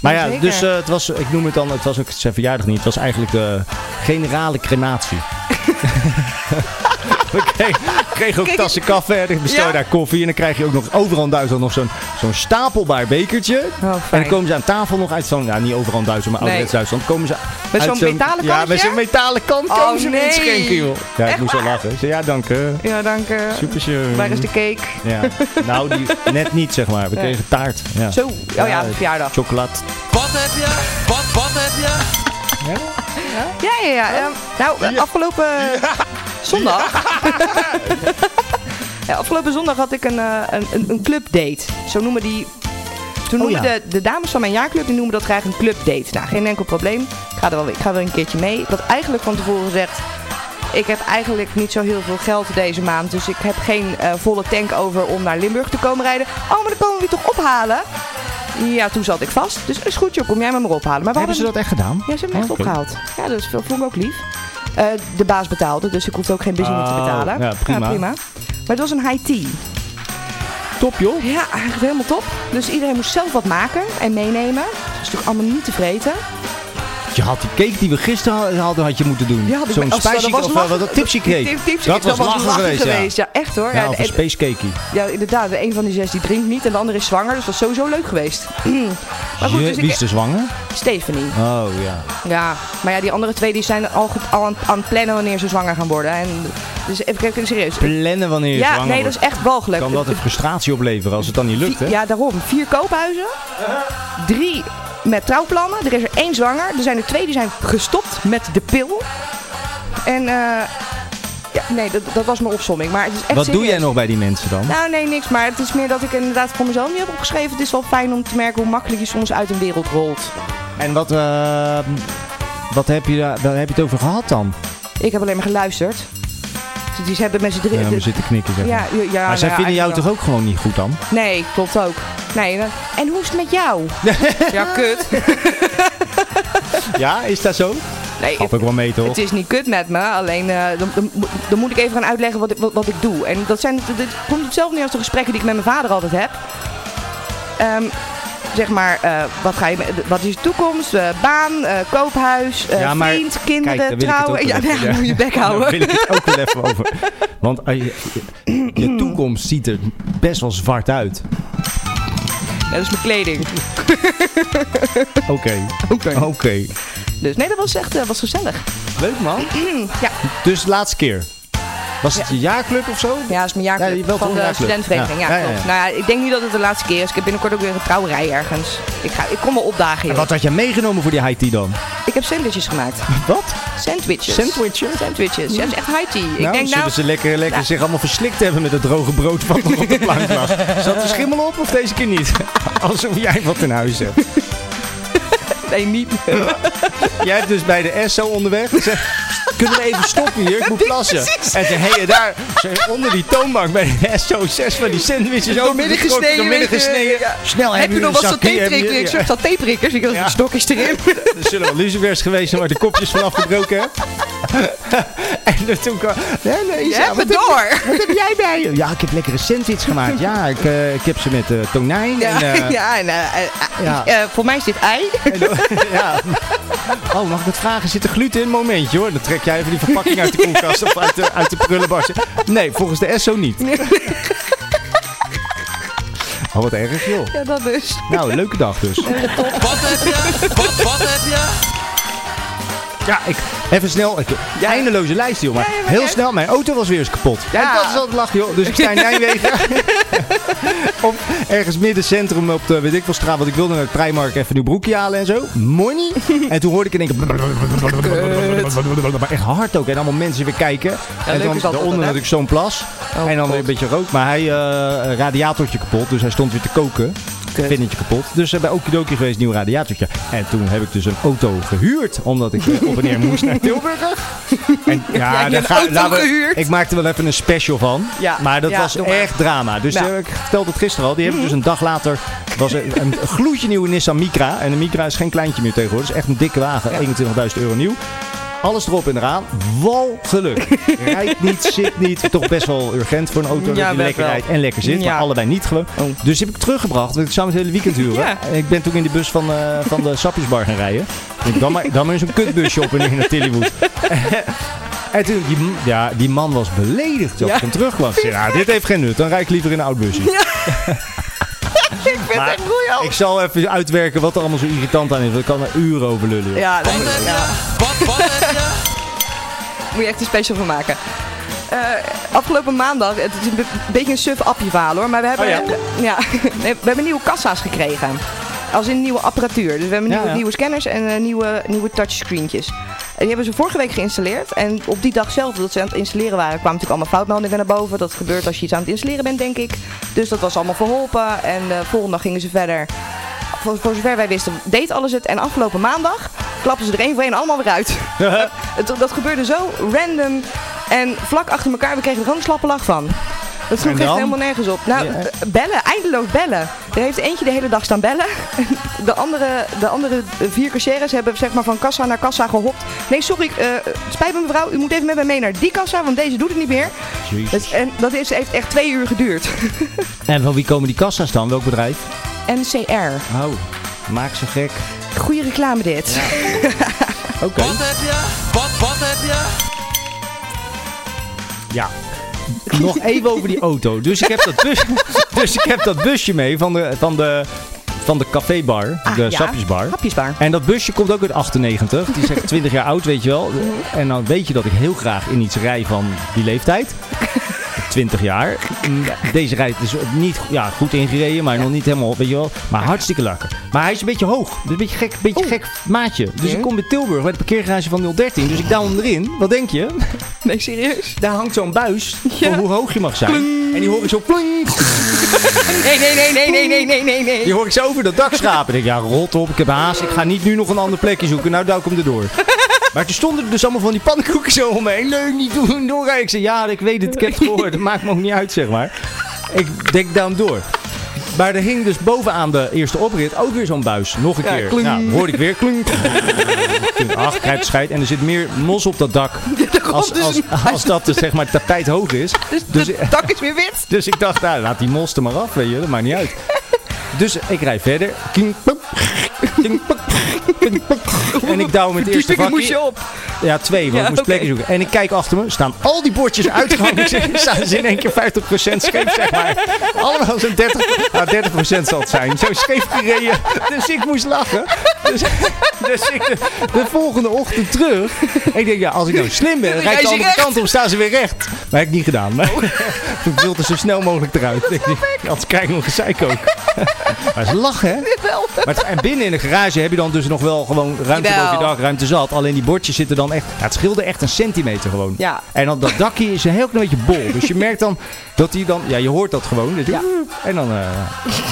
Maar ja,
Jazeker.
dus eh, het was, ik noem het dan, het was ook zijn verjaardag niet. Het was eigenlijk de generale crematie. We kregen, kregen ook
Kijk,
tassen koffie, en ik bestel
Ja.
daar koffie. En dan krijg je ook nog overal in Duitsland nog zo'n zo'n stapelbaar bekertje.
Oh, fijn.
en dan komen ze aan tafel nog uit zo'n, ja niet overal in Duitsland, maar
Nee.
ouderwets Duitsland. Komen ze
Met
uit
zo'n metalen
Ja, met
kantje?
zo'n metalen kant
Oh,
komen ze me
nee.
inschenken, joh. Ja, ik
Echt
moest wel lachen. Ik zei, ja, dank. eh.
Ja, dank. eh.
Super schön.
Waar is de cake?
Ja, nou die net niet zeg maar. We
Nee.
kregen taart. Ja.
Zo, oh ja, verjaardag.
Chocolat.
Wat heb je? Wat, wat heb je?
Ja, ja, ja. ehm, nou, eh, afgelopen zondag. ja, afgelopen zondag had ik een, eh, een, een, een clubdate. Zo noemen die. Toen
Oh,
noemen
ja.
de, de dames van mijn jaarclub die noemen dat graag een clubdate. Nou, geen enkel probleem. Ik ga er wel, ik ga wel een keertje mee. Ik had eigenlijk van tevoren gezegd. Ik heb eigenlijk niet zo heel veel geld deze maand. Dus ik heb geen eh, volle tank over om naar Limburg te komen rijden. Oh, maar dan komen we je toch ophalen? Ja, toen zat ik vast. Dus is goed, joh. Kom jij maar maar ophalen. Maar we
Hebben
hadden
ze dat echt gedaan?
ja, ze hebben me echt
Oké.
opgehaald. Ja, dat is- vond ik ook lief. Eh, de baas betaalde, dus ik hoefde ook geen benzine te
Oh,
betalen.
ja, prima.
Maar het was een high tea.
Top joh.
Ja, eigenlijk helemaal top. Dus iedereen moest zelf wat maken en meenemen. Dat is natuurlijk allemaal niet te vreten.
Je had die cake die we gisteren hadden, had je moeten doen.
Ja, had ik
Zo'n
bij- oh,
spicy
dat was
of eh,
lachen.
wat dat tipsy
Die
cake.
tip- tipsy
dat
cake,
was lachen, geweest,
Ja. echt hoor.
ja. Ja,
Ja,
of
de-
een space cakey.
ja, inderdaad. de Een van die zes die drinkt niet en de andere is zwanger. Dus dat was sowieso leuk geweest. maar goed,
Je-
dus
Wie is
ik,
de zwanger?
Stephanie.
Oh ja.
Ja, maar ja, die andere twee die zijn al, goed, al aan, aan het plannen wanneer ze zwanger gaan worden. En, dus even kijken, serieus.
Plannen wanneer je
Ja,
zwanger
nee, dat
wordt.
is echt walgelijk.
Kan dat een frustratie opleveren als het dan niet lukt, hè?
Vier- Ja, daarom. Vier koophuizen. Drie met trouwplannen. Er is er één zwanger. Er zijn er twee die zijn gestopt met de pil. En eh, ja, nee, dat, dat was mijn opsomming. Maar het is echt
Wat doe
serieus.
jij nog bij die mensen dan?
Nou, nee, niks. Maar het is meer dat ik inderdaad voor mezelf niet heb opgeschreven. Het is wel fijn om te merken hoe makkelijk je soms uit een wereld rolt.
En wat, eh, wat heb, je, daar- waar heb je het over gehad dan?
Ik heb alleen maar geluisterd. Dus die hebben met z'n
Ja,
drieën...
we zitten knikken, zeg maar.
ja, ja, ja,
maar zij
nou,
vinden jou
eigenlijk
toch ook gewoon niet goed dan?
wel. Nee, klopt ook. Nee, en- en hoe is het met jou? ja, kut.
Ja, is dat zo?
Nee,
Valt ook wel mee, toch?
Het is niet kut met me, alleen eh, dan, dan, mo- dan moet ik even gaan uitleggen wat ik, wat, wat ik doe. En dat zijn, dit komt hetzelfde neer als de gesprekken die ik met mijn vader altijd heb. Ehm, zeg maar, eh, wat, ga je, met- wat is je toekomst? Eh, baan, eh, koophuis, eh,
Ja, maar
vriend, kinderen,
daar wil ik het
trouwen.
ook
ja,
even,
nou,
ja.
moet je bek houden.
Daar wil ik het ook wel even over. Want als je, je toekomst ziet er best wel zwart uit.
Ja, dat is mijn kleding.
Oké.
Oké.
Oké.
Dus nee, dat was echt eh, was gezellig.
Leuk man.
ja.
Dus de laatste keer. Was het je jaarclub of zo?
Ja, dat is mijn
Ja,
jaarclub
je belt
van
om
de
jaarclub.
studentenvereniging. Ja,
Ja. Ja, ja,
klopt.
ja.
Nou ja, ik denk niet dat het de laatste keer is. Ik heb binnenkort ook weer een trouwerij ergens. Ik, ga, ik kom me opdagen,
En
joh.
wat had je meegenomen voor die high tea dan? Nou,
Ik heb sandwiches gemaakt.
Wat?
Sandwiches.
Sandwiches?
Sandwiches. Ja, dat is echt high tea. ik
nou,
denk
zullen
nou...
ze lekker, lekker zich allemaal verslikt hebben met het droge brood wat nog op de plank was. Zat er schimmel op of deze keer niet? Alsof jij wat in huis hebt.
Nee, niet.
Jij hebt dus bij de Esso onderweg gezegd, kunnen we even stoppen hier, ik moet plassen. En toen heen je daar ze- onder die toonbank bij de Esso zes van die sandwiches over
midden
getrokken,
gesneden,
door midden
weet je,
gesneden.
ja.
Snel
Heb je nog wat zo'n theeprikker? Ik zocht
Er
al theeprikkers. Ik had
Ja.
stokjes erin.
zullen wel lucifers geweest zijn waar de kopjes van afgebroken hebben. en toen kwam... Nee, nee,
Je
Isa,
hebt
wat
het
doe je?
door.
Wat heb jij bij je? Ja, ik heb lekkere sandwich gemaakt. Ja, ik, eh, ik heb ze met eh, tonijn
Ja,
en... eh,
ja, en, eh, eh, eh,
ja.
eh, voor mij is dit ei.
ja. Oh, mag ik het vragen? Zit er gluten in? Momentje hoor. Dan trek jij even die verpakking uit de koelkast of uit de, uit de prullenbak. Nee, volgens de SO niet. Oh, wat erg joh.
Ja, dat dus.
Nou, leuke dag dus.
Wat heb je? Wat, wat heb je?
Ja, ik, even snel. Ik, Eindeloze lijst joh. Maar
Ja, ja, maar
heel
kijk.
snel, mijn auto was weer eens kapot.
Ja.
En dat is altijd lach joh. Dus ik sta in Nijmegen. op ergens midden centrum op de weet ik veel straat. Want ik wilde naar het Primark even een nieuw broekje halen en zo. Money. En toen hoorde ik in één keer... Maar echt hard ook. En allemaal mensen weer kijken. en
leuk
dan
is dat
daaronder
dan, hè?
natuurlijk zo'n plas.
Oh,
en dan weer
God.
een beetje rook. Maar hij, eh radiatortje kapot. Dus hij stond weer te koken.
Kut.
Vinnetje kapot. Dus eh, bij Okidoki geweest, nieuw radiatortje. En toen heb ik dus een auto gehuurd. Omdat ik eh, op en neer moest naar Tilburg. En, ja,
hebt een auto
laten we-
gehuurd.
Ik maakte wel even een special van.
Ja,
Maar dat
ja,
was
doe maar.
echt drama. Dus
Ja. Mhm.
eh, ik vertelde het gisteren al. Die heb ik dus een dag later. was er een gloedje nieuwe Nissan Micra. En de Micra is geen kleintje meer tegenwoordig. Het is echt een dikke wagen. 21.000 euro nieuw. Alles erop en eraan. Wal geluk. Rijdt niet, zit niet. Toch best wel urgent voor een auto
Ja,
dat je
wel,
lekker
wel.
rijdt en lekker zit.
Ja.
Maar allebei niet gewoon.
Oh.
Dus die heb ik teruggebracht. Want ik zou het hele weekend huren.
Ja.
En Ik ben toen in de bus van, eh, van de Sappiesbar gaan rijden. Ik denk, Dan maar, dan maar in zo'n kutbusje op en neer naar Tillywood. En toen, die, ja, die man was beledigd dat
Ja.
ik hem terug was. Ja, dit heeft geen nut. Dan rijd ik liever in een oud busje.
Ik vind het
Maar
echt briljant.
Ik zal even uitwerken wat er allemaal zo irritant aan is. Want ik kan er uren over lullen. joh.
Ja, daar moet,
Wat heb
ja,
je? Wat, wat heb je?
moet je echt een special van maken. Eh, afgelopen maandag, het is een be- beetje een suf appie verhaal hoor, maar we hebben,
Oh ja.
eh, ja, nee, we hebben nieuwe kassa's gekregen. Als in nieuwe apparatuur. Dus we hebben
Ja,
nieuwe,
ja.
nieuwe scanners en eh, nieuwe, nieuwe touchscreentjes. En die hebben ze vorige week geïnstalleerd. En op die dag zelf dat ze aan het installeren waren, kwamen natuurlijk allemaal foutmeldingen naar boven. Dat gebeurt als je iets aan het installeren bent, denk ik. Dus dat was allemaal verholpen. En de volgende dag gingen ze verder. Voor, voor zover wij wisten, deed alles het. En afgelopen maandag klappen ze er één voor één allemaal weer uit. Het- dat gebeurde zo random en vlak achter elkaar. We kregen er gewoon een slappe lach van. Dat sloeg
En
echt
dan?
helemaal nergens op. Nou,
Ja.
eh, bellen, eindeloos bellen. Er heeft eentje de hele dag staan bellen. De andere, de andere vier cashiers hebben zeg maar van kassa naar kassa gehopt. Nee, sorry, eh, het spijt me mevrouw, u moet even met mij mee naar die kassa, want deze doet het niet meer.
Jezus.
Dus, en dat is, heeft echt twee uur geduurd.
En van wie komen die kassa's dan? Welk bedrijf?
NCR.
Oh, maak ze gek.
Goede reclame dit.
Oké.
Wat heb je? Wat, wat heb je?
Ja. Nog even over die auto. Dus ik heb dat, bus, dus ik heb dat busje mee van de, van de, van de cafébar,
Ah,
de
ja.
sapjesbar.
Hapjesbar.
En dat busje komt ook uit 98. Die is echt 20 jaar oud, weet je wel.
Mhm.
En dan weet je dat ik heel graag in iets rij van die leeftijd. 20 jaar. Deze rijdt is niet ja, goed ingereden, maar nog niet helemaal, weet je wel. Maar hartstikke lekker. Maar hij is een beetje hoog. Dus een beetje gek, beetje gek maatje. Dus ik kom bij Tilburg, bij het parkeergarage van 013. Dus ik douw hem erin. Wat denk je?
Nee, serieus?
Daar hangt zo'n buis voor hoe hoog je mag zijn. En die hoor ik zo pling.
Nee, nee, nee, nee, nee, nee, nee, nee, nee.
Die hoor ik zo over dat dak schrapen. Ik denk, ja, rot op, ik heb haast. Ik ga niet nu nog een ander plekje zoeken. Nou, duik hem erdoor. Maar toen stonden er dus allemaal van die pannenkoeken zo om me heen. Leuk, niet doen, doorrijden. Ik zei, ja, ik weet het, ik heb het gehoord. Het maakt me ook niet uit, zeg maar. Ik denk, daarom door. Maar er hing dus bovenaan de eerste oprit ook weer zo'n buis. Nog een keer. Nou, hoorde ik weer klink. Toen, Ach, krijgt scheid. En er zit meer mos op dat dak. Als,
dus
als, als dat dus, zeg maar het tapijt hoog is.
Dus het dak is weer wit.
Dus ik dacht, nou, laat die mos er maar af, weet je, dat maakt niet uit. Dus ik rij verder. King, pop, king, pop, king, pop. En ik douw met het
Die
eerste
pikken moest je
vakje.
op.
Ja, twee, want
Ja,
ik moest
oké.
plekken zoeken. En ik kijk achter me, staan al die bordjes uitgehangen. Ik zeg, staan ze in één keer 50% scheef, zeg maar. Allemaal zo'n 30%, nou, 30% zal het zijn. Zo scheef gereden. Dus ik moest lachen. Dus, dus ik de, de volgende ochtend terug. Ik denk, ja, als ik nou slim ben, rijd ik de
je
andere
recht. Oh.
kant op, staan ze weer recht. Maar heb ik niet gedaan. Maar ik wilde zo snel mogelijk eruit. Ik denk, Anders krijg ik nog gezeik ook. Maar ze lachen, hè?
Wel.
Maar het- en binnen in de garage heb je dan dus nog wel gewoon ruimte
Jawel.
boven je dak, ruimte zat. Alleen die bordjes zitten dan echt... Ja, het scheelde echt een centimeter gewoon.
Ja.
En dan, dat dakje is een heel klein beetje bol. Dus je merkt dan dat die dan... Ja, je hoort dat gewoon. Dus
Ja.
En dan... eh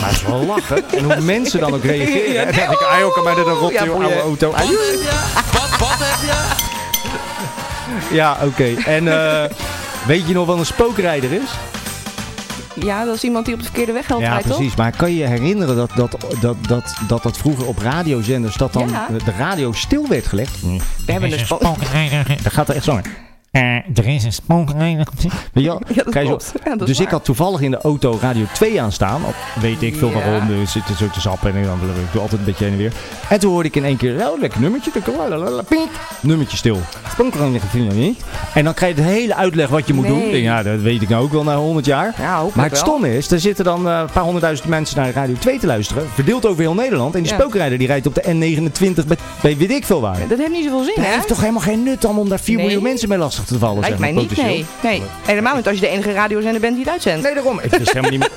maar het is wel lachen. En hoe mensen dan ook reageren.
Ja,
en dan denk ik, ah joh, kan mij dat dan rot,
Ja,
joh,
boeien.
oude auto. Ah, joh.
Wat, wat heb je?
ja, oké. En eh, weet je nog wat een spookrijder is?
Ja, dat is iemand die op de verkeerde weg helpt,
Ja,
rijdt,
precies. Maar kan je je herinneren dat dat, dat, dat, dat, dat vroeger op radiozenders... dat dan
Ja.
de radio stil werd gelegd?
Mm.
dus
toch? We hebben een spook.
Dat gaat er echt zo in.
Eh, er is een spookrijder.
Weet je wel?
Ja, dat
Krijg je
klopt.
op.
Ja, dat is
dus ik
waar.
had toevallig in de auto Radio 2 aan staan. Al Weet ik veel
Ja.
waarom. We zitten zo te zappen en dan ik doe altijd een beetje heen en weer. En toen hoorde ik in één keer oh, lekker nummertje. Dan kwam lalalala, piep, nummertje stil. Spookrijder vind je dat niet. En dan krijg je de hele uitleg wat je moet
Nee.
doen. Ik denk, ja, dat weet ik nou ook wel na 100 jaar.
Ja, hopelijk
Maar het
wel.
stomme is, er zitten dan eh, een paar honderdduizend mensen naar Radio 2 te luisteren. Verdeeld over heel Nederland. En die
Ja.
spookrijder die rijdt op de N29 bij, bij weet ik veel waar.
Dat heeft niet zoveel zin,
Dat
hè?
heeft toch helemaal geen nut dan om daar 4
Nee.
miljoen mensen mee lastig te vallen.
Lijkt
zeg maar,
mij niet,
potentieel.
nee. nee. Helemaal niet als je de enige radiozender bent die het uitzendt.
Nee, daarom. Ik wist helemaal niet meer.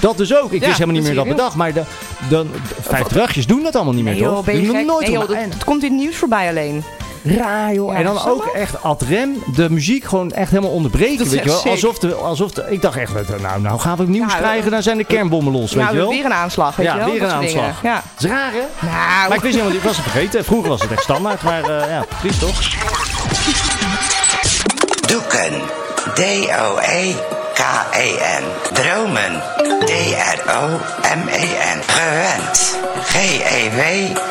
Dat dus ook. Ik
Ja,
wist helemaal niet
dat
meer dat
zie je.
bedacht. Maar de, dan, vijf drachtjes doen dat allemaal niet meer,
Nee, joh,
toch?
ben je
Die doen
gek?
nooit
Nee, joh,
om-
dat,
en
dat komt in het nieuws voorbij alleen.
raar, joh.
Ja,
en dan
snap
ook
je?
echt ad rem. De muziek gewoon echt helemaal onderbreken,
Dat is
weet je
echt
wel.
sick.
Alsof, de, alsof de, ik dacht echt, nou, nou gaan we nieuws
Ja,
krijgen, dan zijn de kernbommen los, weet
nou,
je wel.
weer een aanslag, weet
Ja,
je wel?
weer
dat
een
soort dingen.
aanslag.
Ja.
is raar, hè?
Nou,
Maar ik wist helemaal niet, ik was het vergeten. Vroeger was het echt standaard, maar eh, ja, triest toch?
Doeken. D-O-E-K-E-N. Dromen. D-R-O-M-E-N. Gewend. G-E-W-E-N-D.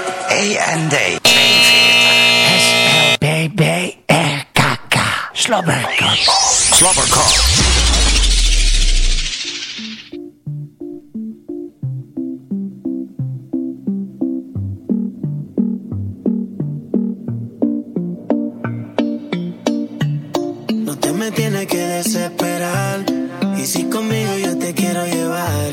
42. S-L-B-B-R-K-K. Slobberkok. Slobberkok.
No te me tienes que desesperar. Y si conmigo yo te quiero llevar,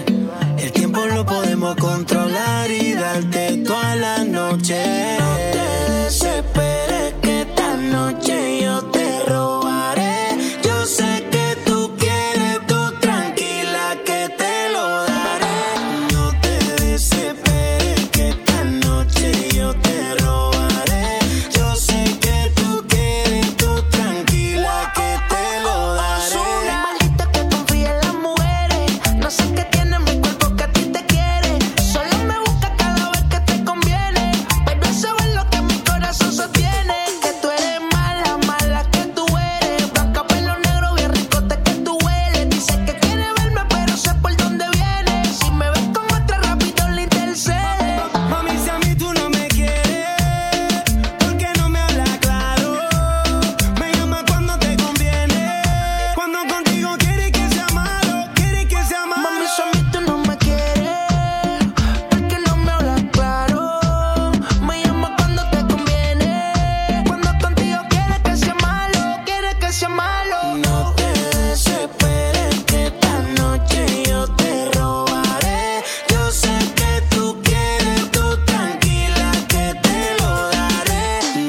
el tiempo lo podemos controlar y darte toda la noche. No te desesperes que esta noche yo te robaré. Yo sé que tú quieres, tú tranquila que te lo daré. No te desesperes que esta noche yo te robaré. Yo sé que tú quieres, tú tranquila que te lo daré.
Soy un maldito que confía en las mujeres. No sé qué tiene mi cuerpo que a ti te quiere. Solo me busca cada vez que te conviene. Pero sabes lo que mi corazón sostiene. Que tú eres mala, mala que tú eres. Vaca, pelo negro, bien ricote que tú hueles. Dice que quiere verme, pero sé por dónde viene. Si me ves con otra, rápido le intercedes.
Mami, si a mí tú no me quieres, ¿por qué no me hablas claro? Me llama cuando te conviene. Cuando contigo quieres que sea malo, quieres que sea
Mami,
malo.
si a mí tú no me quieres, porque no me hablas claro. Me llamas cuando te conviene, cuando contigo quieres que sea malo, quieres que sea malo.
No te desesperes que esta noche yo te robaré. Yo sé que tú quieres, tú tranquila que te lo daré.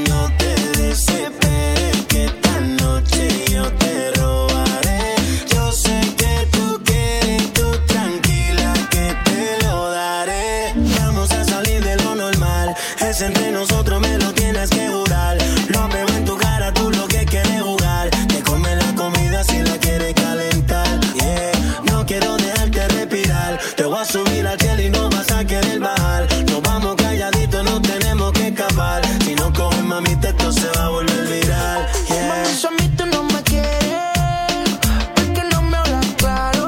No te desesperes que esta noche yo te robaré. Yo sé que tú quieres, tú tranquila que te lo daré. Vamos a salir de lo normal. Es entre nosotros, me lo tienes que jurar. Lo veo en tu cara, tú lo que quieres jugar. Te comes la comida si la quieres calentar. Yeah. No quiero dejarte respirar. Te voy a subir al cielo y no vas a querer bajar. Nos vamos calladitos, no tenemos que escapar. Si no coges mamita, esto se va a volver viral. Yeah.
Mami, si a mí tú no me quieres, porque no me hablas claro.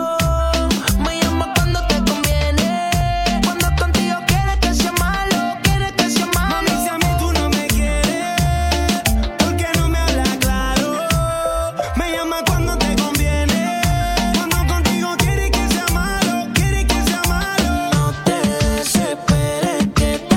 Me llamas cuando te conviene, cuando contigo quieres que sea malo, quieres que sea malo.
Mami, si a mí tú no me quieres, ¿por qué no me hablas claro? Me llama cuando te conviene. Cuando contigo quieres que sea malo, quieres que sea malo. No te desesperes.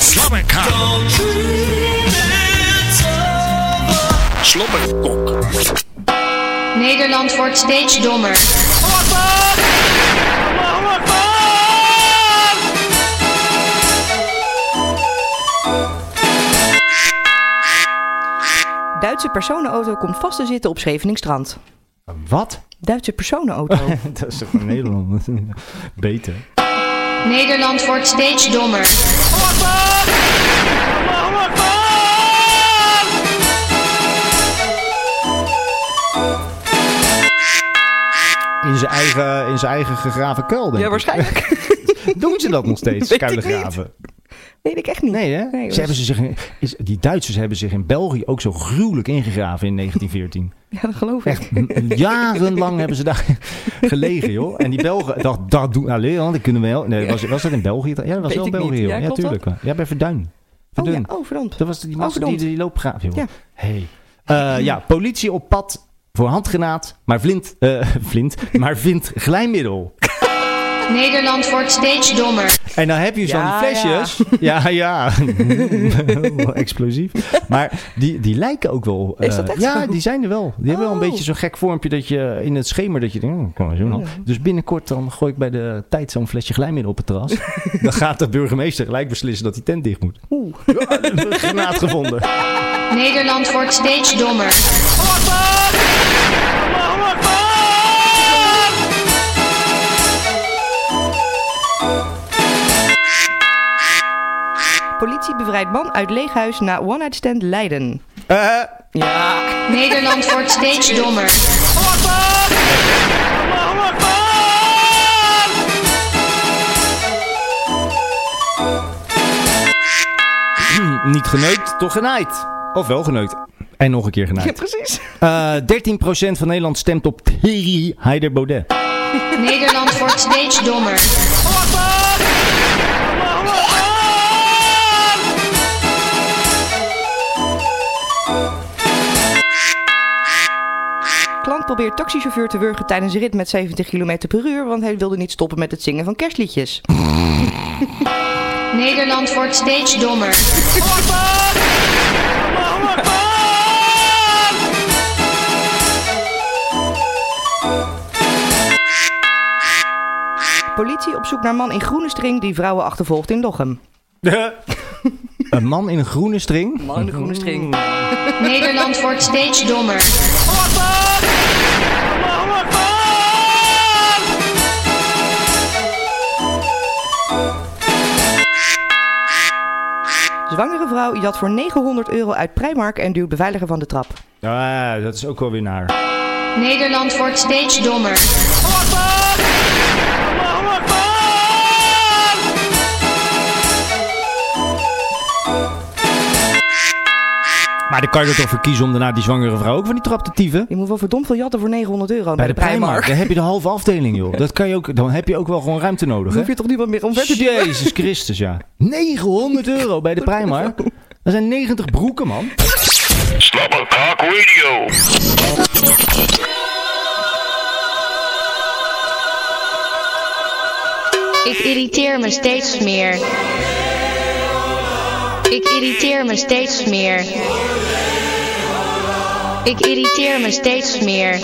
Slobberkok.
Slobberkok.
Nederland wordt steeds dommer.
Duitse personenauto komt vast te zitten op Scheveningstrand.
Wat?
Duitse personenauto.
dat is toch van Nederland? Beter.
Nederland wordt steeds dommer.
In zijn eigen, in zijn eigen gegraven kuil, denk
Ja,
ik.
waarschijnlijk.
Doen ze dat nog steeds,
Weet ik
kuilen
niet.
graven?
Weet ik echt niet.
Nee, hè?
hoor.
ze hebben ze zich in- is, die Duitsers hebben zich in België ook zo gruwelijk ingegraven in 1914.
Ja, dat geloof ik.
M- Jarenlang hebben ze daar gelegen, joh. En die Belgen dachten, dat doen alleen, want dat kunnen we wel. Nee, was, was dat in België? Ja, dat was
Weet
wel
ik
België,
niet.
joh.
Ja,
Ja,
klopt dat?
tuurlijk. Ja, bij Verduin. Verdun.
Oh, ja. oh verdomd.
Dat was die
Oh,
massa die,
verdomd.
die loopgraaf, joh.
Ja.
Hey. Eh, ja, politie op pad voor handgenaad, maar vlint, eh, vlint, maar vindt glijmiddel.
Nederland wordt steeds dommer.
En dan heb je zo'n
Ja,
flesjes. Ja, ja. Wel Explosief. Maar die, die lijken ook wel.
Is
eh,
dat echt
ja,
zo?
die zijn er wel. Die hebben wel een
Oh.
beetje zo'n gek vormpje dat je in het schemer dat je denkt, oh, kan maar zo dan. Dus binnenkort dan gooi ik bij de tijd zo'n flesje glijmiddel op het terras. dan gaat de burgemeester gelijk beslissen dat die tent dicht moet.
Oeh.
Granaat gevonden.
Nederland wordt steeds dommer.
Politie bevrijdt man uit leeghuis na one-night stand Leiden.
Eh,
Nederland wordt steeds dommer.
niet geneukt, toch genaaid. Of wel geneukt. En nog een keer genaaid.
Ja, precies.
Eh, 13% van Nederland stemt op Thierry Heider Baudet.
Nederland wordt steeds dommer.
Klant probeert taxichauffeur te wurgen tijdens een rit met 70 km per uur, want hij wilde niet stoppen met het zingen van kerstliedjes.
Nederland wordt steeds dommer.
Politie op zoek naar man in groene string die vrouwen achtervolgt in Lochem.
een man in een groene string.
Man in de groene string.
Nederland wordt steeds dommer.
Zwangere vrouw jat voor 900 euro uit Primark en duwt beveiliger van de trap.
Ah, dat is ook wel weer naar.
Nederland wordt steeds dommer.
Maar dan kan je er toch voor kiezen om daarna die zwangere vrouw ook van die trap te tieven?
Je moet wel verdomd veel jatten voor 900 euro
Bij de Primark, dan heb je de halve afdeling, joh. Dat kan je ook, dan heb je ook wel gewoon ruimte nodig,
Dan
hè?
hoef je toch niemand meer om verder te duwen?
Jezus Christus, ja. 900 euro bij de Primark? Dat zijn 90 broeken, man.
Slobberkok Radio.
Ik irriteer me steeds meer. Ik irriteer me steeds meer. Ik irriteer me steeds meer.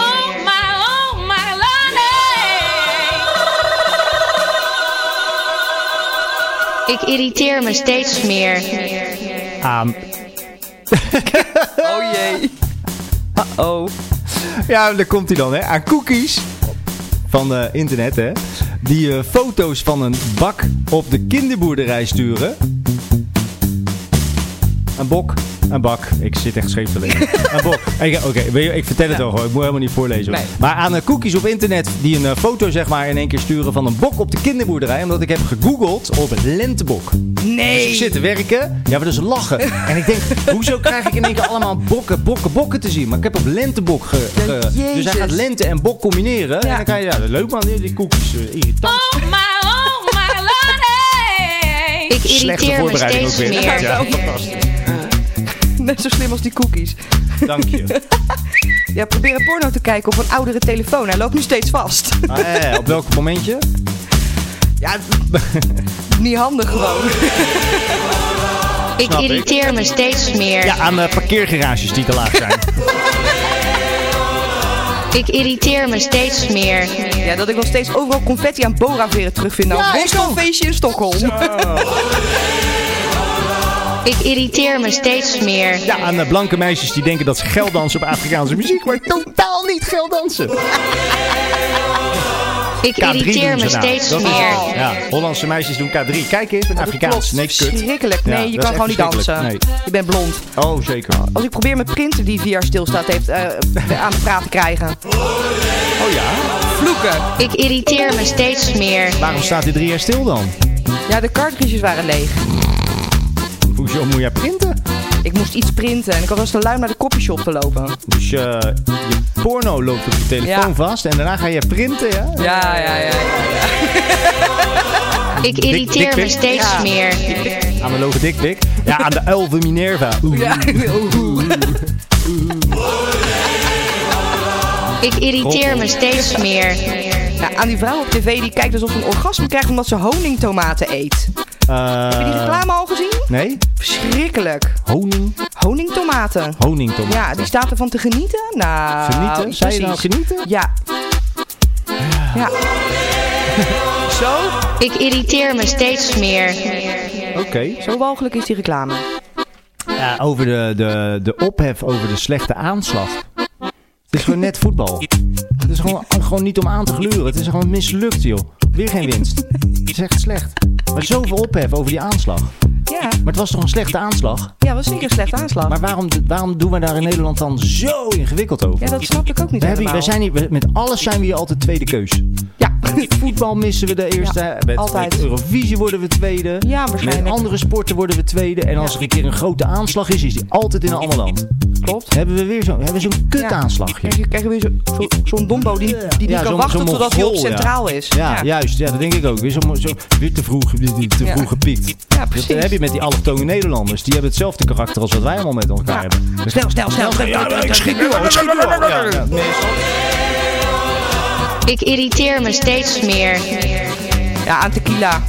Ik irriteer me steeds meer.
Aan.
Oh jee. Uh-oh.
Ja, daar komt hij dan, hè. Aan cookies van eh, internet, hè. Die eh, foto's van een bak op de kinderboerderij sturen. Een bok, een bak. Ik zit echt scheef te lezen. een bok. Ik- Oké, weet je, ik vertel het al gewoon. Ik moet helemaal niet voorlezen. hoor.
Nee.
Maar aan eh, cookies op internet die een eh, foto zeg maar in één keer sturen van een bok op de kinderboerderij. Omdat ik heb gegoogeld op lentebok. Dus ik
Nee.
zit te werken. Ja, maar dat is lachen. En ik denk, hoezo krijg ik in één keer allemaal bokken, bokken, bokken te zien? Maar ik heb op lentebok ge... ge-
Jezus.
dus hij gaat lente en bok combineren. En dan kan je, ja, dat is leuk man, die koekjes, eh, irritant.
Ik irriteer me
voorbereiding
steeds
ook weer.
meer.
Ja,
Net zo slim als die cookies.
dank je.
Ja, probeer een porno te kijken op een oudere telefoon. Hij loopt nu steeds vast.
Ah, ja, ja, op welk momentje?
Ja, niet handig gewoon.
Ik
Snap ik.
irriteer me steeds meer.
Ja, aan eh, parkeergarages die te laag zijn.
Ik irriteer me steeds meer.
Ja, dat ik nog steeds overal confetti aan Bora-veren terugvind. Nou,
Ja,
ja, een feestje in Stockholm.
Ik irriteer me steeds meer.
Ja, aan eh, blanke meisjes die denken dat ze geld dansen op Afrikaanse muziek, maar totaal niet geld dansen.
Ik
K3
irriteer
doen
me
ze nou.
steeds
Dat is
meer.
het. Ja, Hollandse meisjes doen K3. Kijk eens, een Afrikaans. Nee, kut.
Schrikkelijk.
Ja,
Nee, je
dat
kan
is
gewoon niet
echt
dansen.
verschrikkelijk.
Je bent blond.
Nee. Oh, zeker.
Als ik probeer mijn printer die vier jaar stilstaat heeft eh, aan de praat te krijgen.
Oh ja?
Vloeken.
Ik irriteer me steeds meer.
Waarom staat hij drie jaar stil dan?
Ja, de cartridges waren leeg.
Hoezo moet jij printen?
Ik moest iets printen en ik had als de lui naar de copyshop te lopen.
Dus je, je porno loopt op je telefoon vast en daarna ga je printen, ja?
Ja, ja, ja.
Ik
Dik-
irriteer me
dikpik?
steeds
Ja.
meer.
Analoge dikpik. Ja, aan de uil van Minerva. Oeh.
Ik irriteer me steeds meer.
Ja, aan die vrouw op tv die kijkt alsof ze een orgasme krijgt omdat ze honingtomaten eet.
Eh,
Heb je die reclame al gezien?
Nee?
Verschrikkelijk.
Honing?
Honingtomaten.
Honingtomaat.
Ja, die staat ervan te genieten. Nou,
Genieten? Zei je nou genieten?
Ja. Ja. Zo?
Ik irriteer me steeds meer.
Oké.
Zo walgelijk is die reclame.
Ja, over de, de, de ophef over de slechte aanslag. Het is gewoon net voetbal. Het is gewoon, gewoon niet om aan te gluren. Het is gewoon mislukt, joh. Weer geen winst. Het is echt slecht. Maar zoveel ophef over die aanslag.
Ja,
Maar het was toch een slechte aanslag?
ja was zeker een slechte aanslag.
Maar waarom, waarom doen we daar in Nederland dan zo ingewikkeld over?
Ja, dat snap ik ook niet
We, hebben, hier- we
helemaal.
zijn hier, we- met alles zijn we hier altijd tweede keus.
Ja.
Voetbal missen we de eerste.
Ja,
met,
altijd.
met Eurovisie worden we tweede.
Ja,
met
waarschijnlijk.
andere sporten worden we tweede. En als er een keer een grote aanslag is, is die altijd in een ander land.
Klopt.
Hebben we weer zo- hebben we zo'n kutaanslagje.
Krijg je, krijg je weer zo- zo- zo'n dombo die, die niet
Ja,
kan
zo'n-
wachten
zo'n
totdat hij op
Mongool, ja.
centraal is.
Ja, juist. Ja, dat denk ik ook. Weer, zo, zo, weer te vroeg, weer te
Ja.
vroeg gepiekt.
Ja,
Dat eh,
precies.
heb je met die allochtone Nederlanders. Die hebben hetzelfde karakter als wat wij allemaal met elkaar
Ja.
hebben. Dus-
Snel, snel, snel.
Ja, ja, ik schiet nu al, ik schiet nu al. Ja, ja, nee,
Ik irriteer me steeds meer.
Ja, aan tequila.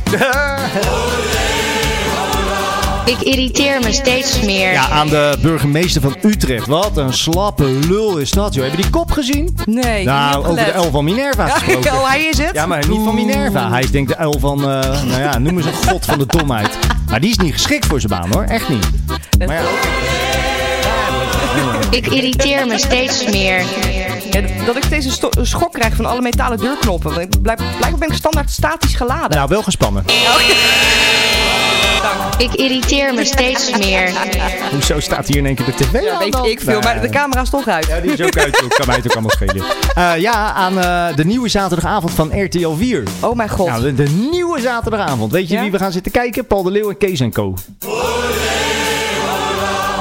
Ik irriteer me steeds meer.
Ja, aan de burgemeester van Utrecht. Wat een slappe lul is dat, joh. Heb je die kop gezien?
Nee, ik heb
nou,
niet
over de
gelet.
uil van Minerva gesproken.
Ja, hij is het.
Ja, maar niet van Minerva. Hij is denk ik de uil van, eh, nou ja, noem eens een god van de domheid. Maar die is niet geschikt voor zijn baan, hoor. Echt niet. Maar ja,
Ik irriteer me steeds meer.
Ja, dat ik steeds een, sto- een schok krijg van alle metalen deurknoppen. Want ik blijk- blijkbaar ben ik standaard statisch geladen.
nou, wel gespannen.
Ik irriteer me steeds meer.
Hoezo staat hier in één keer de tv
Ja,
aan
weet
dan?
ik veel,
Nou,
maar de camera is toch uit.
Ja, die is ook uit, joh. kan mij het ook allemaal schelen. Eh, ja, aan eh, de nieuwe zaterdagavond van RTL 4.
Oh mijn god.
Nou, de, de nieuwe zaterdagavond. Weet je
Ja?
wie we gaan zitten kijken? Paul de Leeuw en Kees en Co.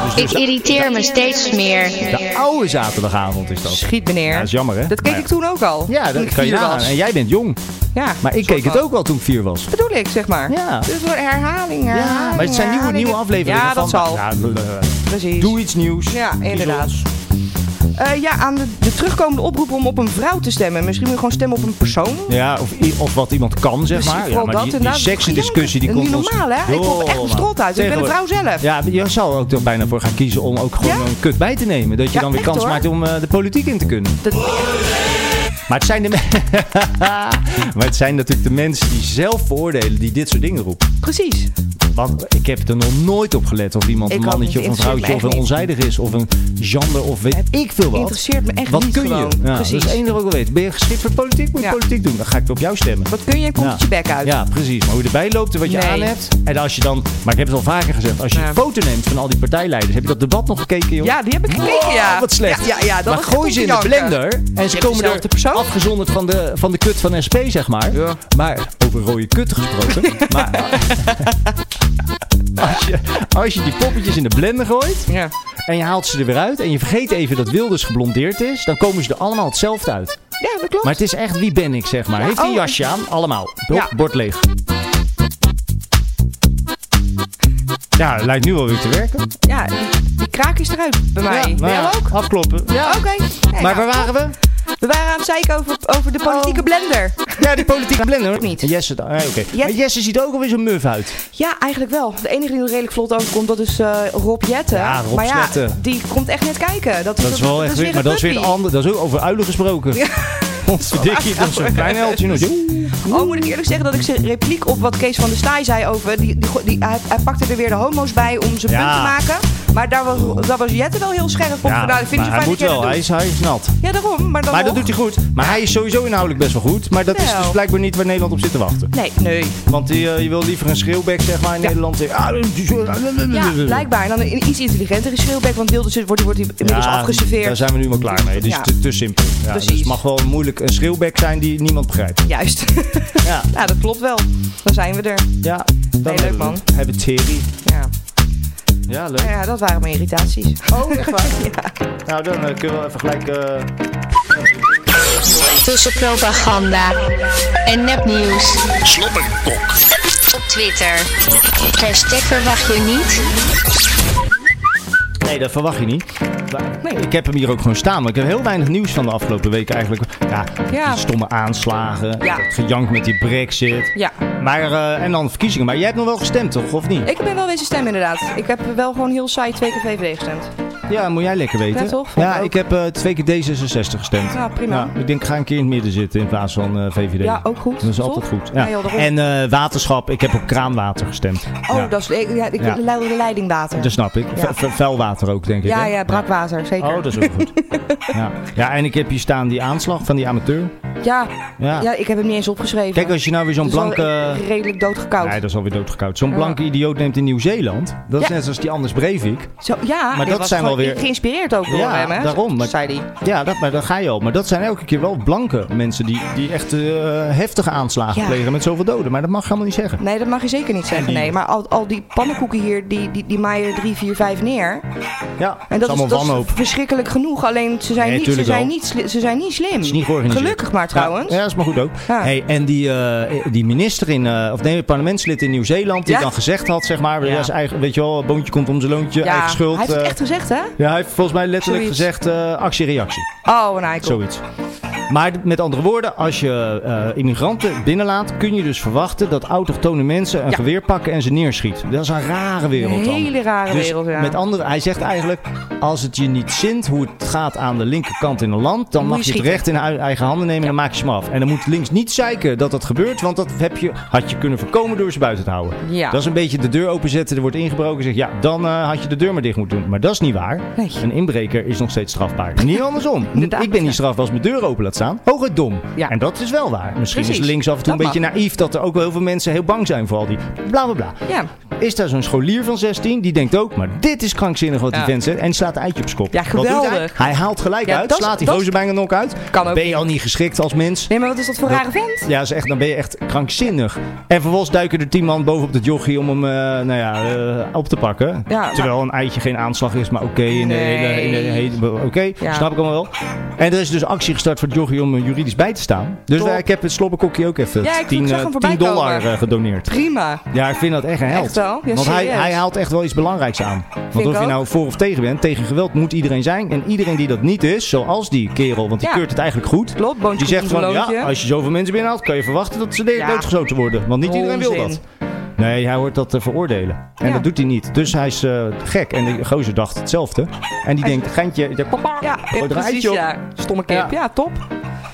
Dus,
Ik
dus de,
irriteer me steeds meer.
de oude zaterdagavond is dat.
Schiet meneer.
Ja, dat is jammer, hè?
Dat keek
Maar
ik toen ook al.
Ja,
toen
dat
ik
kan je
vier
nagaan.
was.
En jij bent jong.
Ja,
Maar ik
soort
keek het
van.
ook wel toen ik vier was.
bedoel ik, zeg maar.
Ja.
Dus door herhaling, herhaling,
Ja, maar het zijn nieuwe,
herhaling.
nieuwe afleveringen
Ja, dat
van...
zal.
Ja, eh,
Precies.
doe iets nieuws.
Ja,
Kies
inderdaad.
ons.
Eh, ja, aan de, de terugkomende oproep om op een vrouw te stemmen. Misschien moet je gewoon stemmen op een persoon.
Ja, of, i- of wat iemand kan, zeg
Misschien
maar. Ja,
vooral
maar
dat
die, die
inderdaad.
seksendiscussie die
Dat is
komt
niet
ons...
normaal, hè? Ik word echt
Joh, man.
verstrot uit. Ik ben een vrouw zelf.
Ja, je zou er ook toch bijna voor gaan kiezen om ook gewoon
Ja?
een kut bij te nemen. Dat je
Ja,
dan weer
echt,
kans
hoor.
maakt om eh, de politiek in te kunnen.
Dat-
Maar het zijn de me- Maar het zijn natuurlijk de mensen die zelf veroordelen die dit soort dingen roepen.
precies.
Want ik heb er nog nooit op gelet of iemand
Ik
een
ook
mannetje
niet.
of een
Interesseert
vrouwtje of
me
een
echt
onzijdig is of een gender of weet ik veel wat.
Interesseert me echt
Wat
niet
kun je?
gewoon.
Ja, dat is
precies.
het enige wat ik wil weten. Ben je geschikt voor politiek? Moet je
Ja.
politiek doen? Dan ga ik op jou stemmen.
Wat kun je en komt het je bek uit?
Ja, precies. Maar hoe je erbij loopt en wat je
Nee.
aan hebt. En als je dan, maar ik heb het al vaker gezegd, als je
Ja.
een foto neemt van al die partijleiders, heb je dat debat nog gekeken, joh?
Ja, die heb ik gekeken,
Wow,
ja.
Oh, Wat slecht.
Ja, ja, ja, dat
maar
was
gooi
echt
ze
om
in
te
de
janken.
blender en ze
hebt
komen er
dezelfde persoon.
afgezonderd van de, van de kut van SP, zeg maar.
Ja.
Maar over rode kut gesproken. maar als je, als je die poppetjes in de blender gooit
Ja.
en je haalt ze er weer uit en je vergeet even dat Wilders geblondeerd is, dan komen ze er allemaal hetzelfde uit.
Ja, dat klopt.
Maar het is echt wie ben ik, zeg maar. Heeft hij een
oh.
jasje aan? Allemaal. Hop,
Ja.
Bord leeg. Ja, het lijkt nu alweer te werken.
Ja, die, die kraak is eruit bij mij.
ja,
Bij jou ook?
Afkloppen. Ja.
Oké. Nee,
Maar
nou,
waar waren we?
we We waren aan het zeiken over, over de politieke blender.
Ja, die politieke blender. Niet. Jesse, dan. Ah, oké. Maar Jesse ziet er ook alweer zo'n muf uit.
Ja, eigenlijk wel. De enige die er redelijk vlot overkomt, dat is eh, Rob Jetten.
Ja, Rob
maar ja,
Jetten.
die komt echt net kijken. Dat is,
Dat is wel echt weer, maar dat is weer een ander. Dat is ook over uilen gesproken.
Ja.
Onze dikkie, dat is een klein heltje. nog.
Oh, moet ik eerlijk zeggen dat ik zijn repliek op wat Kees van der Staaij zei over... Die, die, die- hij, hij pakte er weer de homo's bij om zijn
Ja.
punt te maken. Maar daar was, daar was Jette wel heel scherp op.
Ja,
nou, dat vind ik
maar
fijn
hij
dat
moet
jij dat
wel. Hij
doet.
is, hij is nat.
Ja, daarom. Maar, dan
Maar dat
nog.
doet hij goed. Maar hij is sowieso inhoudelijk best wel goed. Maar dat is
Wel.
dus blijkbaar niet waar Nederland op zit te wachten.
Nee, nee.
Want die, eh, je wil liever een schreeuwbek, zeg maar, in Nederland. die- Ah,
Ja,
Mm.
blijkbaar. En dan een iets intelligentere schreeuwbek, want Wilders wordt, wordt hij inmiddels
Daar
afgeserveerd.
zijn we nu maar klaar mee. Het is
Ja.
te, te simpel. Ja,
Precies.
Dus het mag wel moeilijk een schreeuwbek zijn die niemand begrijpt.
Juist.
Ja.
ja, dat klopt wel. Dan zijn we er.
Ja,
Nee, leuk man.
eh, Hebben Thierry.
Ja.
Ja, leuk.
Nou ja, dat waren mijn irritaties. Oh, echt waar?
Nou, dan eh, kunnen we even gelijk... eh,
Tussen propaganda en nepnieuws.
Slobberkok.
Op Twitter. Hashtag verwacht je niet.
Nee, dat verwacht je niet. Maar Ik heb hem hier ook gewoon staan. Maar ik heb heel weinig nieuws van de afgelopen weken eigenlijk. Ja,
Ja.
die stomme aanslagen.
Ja.
Het gejank met die brexit.
Ja.
Maar, eh, en dan verkiezingen. Maar jij hebt nog wel gestemd, toch? Of niet?
Ik ben wel wezen stem inderdaad. Ik heb wel gewoon heel saai twee keer VVD gestemd.
Ja, moet jij lekker weten.
Ja, toch? Vond
Ja,
ik ook.
ik heb eh, twee keer D66 gestemd.
Ja, prima.
Nou, ik denk, ik ga een keer in het midden zitten in plaats van eh, VVD.
Ja, ook goed,
Dat is
toch?
altijd goed.
Ja, joh, daarom.
en eh, waterschap. Ik heb op kraanwater gestemd.
Oh,
ja.
dat is... Ik, ja, ik
Ja.
leidde de leidingwater.
Dat snap ik.
Ja.
Vu- vu- Vuilwater ook, denk ik.
ja,
hè?
ja, brakwater, zeker.
Oh, dat is ook goed. ja. ja, en ik heb hier staan die aanslag van die amateur.
Ja.
Ja.
Ja. ik heb hem niet eens opgeschreven.
Ah. Kijk, als je nou weer zo'n
Het is wel
blanke...
Redelijk doodgekoud.
Nee, dat is alweer doodgekoud. Zo'n
Ja.
blanke idioot neemt in Nieuw-Zeeland. Dat is
Ja.
net zoals die Anders Breivik.
Zo, ja,
Maar
dit
dat
was
zijn wel
gewoon
weer-
geïnspireerd ook door
Ja,
hem, hè?
daarom, maar-
Zei hij.
Ja, dat, maar daar ga je al. Maar dat zijn elke keer wel blanke mensen die, die echt eh, heftige aanslagen
Ja.
plegen met zoveel doden. Maar dat mag je helemaal niet zeggen.
Nee, dat mag je zeker niet zeggen.
die-
Nee, maar al, al die pannenkoeken hier, die, die, die maaien drie, vier, vijf neer.
Ja,
En
is
dat,
allemaal
is, dat is
wanhoop.
verschrikkelijk genoeg. Alleen ze zijn,
Nee,
niet, ze
tuurlijk
zijn,
wel.
niet, sli- ze zijn niet slim.
Het is niet georganiseerd.
Gelukkig maar
Ja,
trouwens.
Ja, dat is maar goed ook.
Ja.
Hey, en die, eh, die minister in, eh, of nee, parlementslid in Nieuw-Zeeland, die
Ja.
dan gezegd had, zeg maar,
Ja.
ja. is eigen, weet je wel, boontje komt om zijn loontje,
Ja,
eigen schuld.
Hij heeft het
eh,
echt gezegd, hè?
ja, hij heeft volgens mij letterlijk
Zoiets.
gezegd eh, actie-reactie.
Oh, een eikel.
Zoiets. Maar d- met andere woorden, als je eh, immigranten binnenlaat, kun je dus verwachten dat autochtone mensen een
Ja.
geweer pakken en ze neerschieten. Dat is een rare wereld
Een
dan.
hele rare
Dus
wereld, ja.
Met andere, hij zegt eigenlijk, als het je niet zint hoe het gaat aan de linkerkant in een land, dan
Moet
mag
je
je het
schieten.
recht in hui- eigen handen nemen en dan maak je ze maar af. En dan moet links niet zeiken dat dat gebeurt, want dat heb je, had je kunnen voorkomen door ze buiten te houden.
Ja.
Dat is een beetje de deur openzetten, er wordt ingebroken, zeg ja, dan eh, had je de deur maar dicht moeten doen. Maar dat is niet waar.
Nee.
Een inbreker is nog steeds strafbaar. Niet andersom.
Inderdaad,
ik ben
ja.
niet strafbaar als mijn deur open laat staan. Hooguit dom.
Ja.
En dat is wel waar. Misschien is
Precies.
links af en toe een
Dat
beetje naïef dat er ook wel heel veel mensen heel bang zijn voor al die bla bla bla.
Ja.
Is daar zo'n scholier van 16 die denkt ook, maar dit is krankzinnig wat
Ja.
die vent zegt. En die slaat een eitje op zijn kop.
Ja,
Wat doet hij?
geweldig.
Hij haalt gelijk
Ja,
uit,
dat is-
slaat die
dat is-
gozer bijna nog uit.
Kan ook
Ben je al niet geschikt als mens?
Nee, maar wat is dat voor een
Dat-
rare vent?
Ja, is echt, dan ben je echt krankzinnig. En vervolgens duiken er tien man bovenop de jochie om hem eh, nou ja, eh, op te pakken.
Ja,
Terwijl een eitje geen aanslag is, maar oké. in de
Nee.
hele- in de hele- Oké,
Ja.
snap ik allemaal wel. En er is dus actie gestart voor de jochie om er juridisch bij te staan. Dus
Top.
wij- ik heb het slobberkokje ook even
Ja, ik
10,
zag hem
eh,
voorbij
10 dollar
komen.
eh, gedoneerd.
Prima.
Ja, ik vind dat echt een held.
Echt wel? Ja,
Want hij,
serieus.
hij haalt echt wel iets belangrijks aan. Want
ik
of je
ook.
nou voor of tegen bent, tegen geweld moet iedereen zijn. En iedereen die dat niet is, zoals die kerel, want die
Ja.
keurt het eigenlijk goed.
Klopt, boontje
Die zegt
komt
van,
een
ja,
loontje.
als je zoveel mensen binnenhaalt, kan je verwachten dat ze
Ja.
doodgeschoten worden. Want niet iedereen wil dat.
Onzin.
Nee, hij hoort dat te veroordelen. En
Ja.
dat doet hij niet. Dus hij is eh, gek. En de gozer dacht hetzelfde. En die denkt, geintje, ja, papa.
Ja,
er een
precies,
eitje op.
ja. Stomme kip.
Ja.
Ja, top.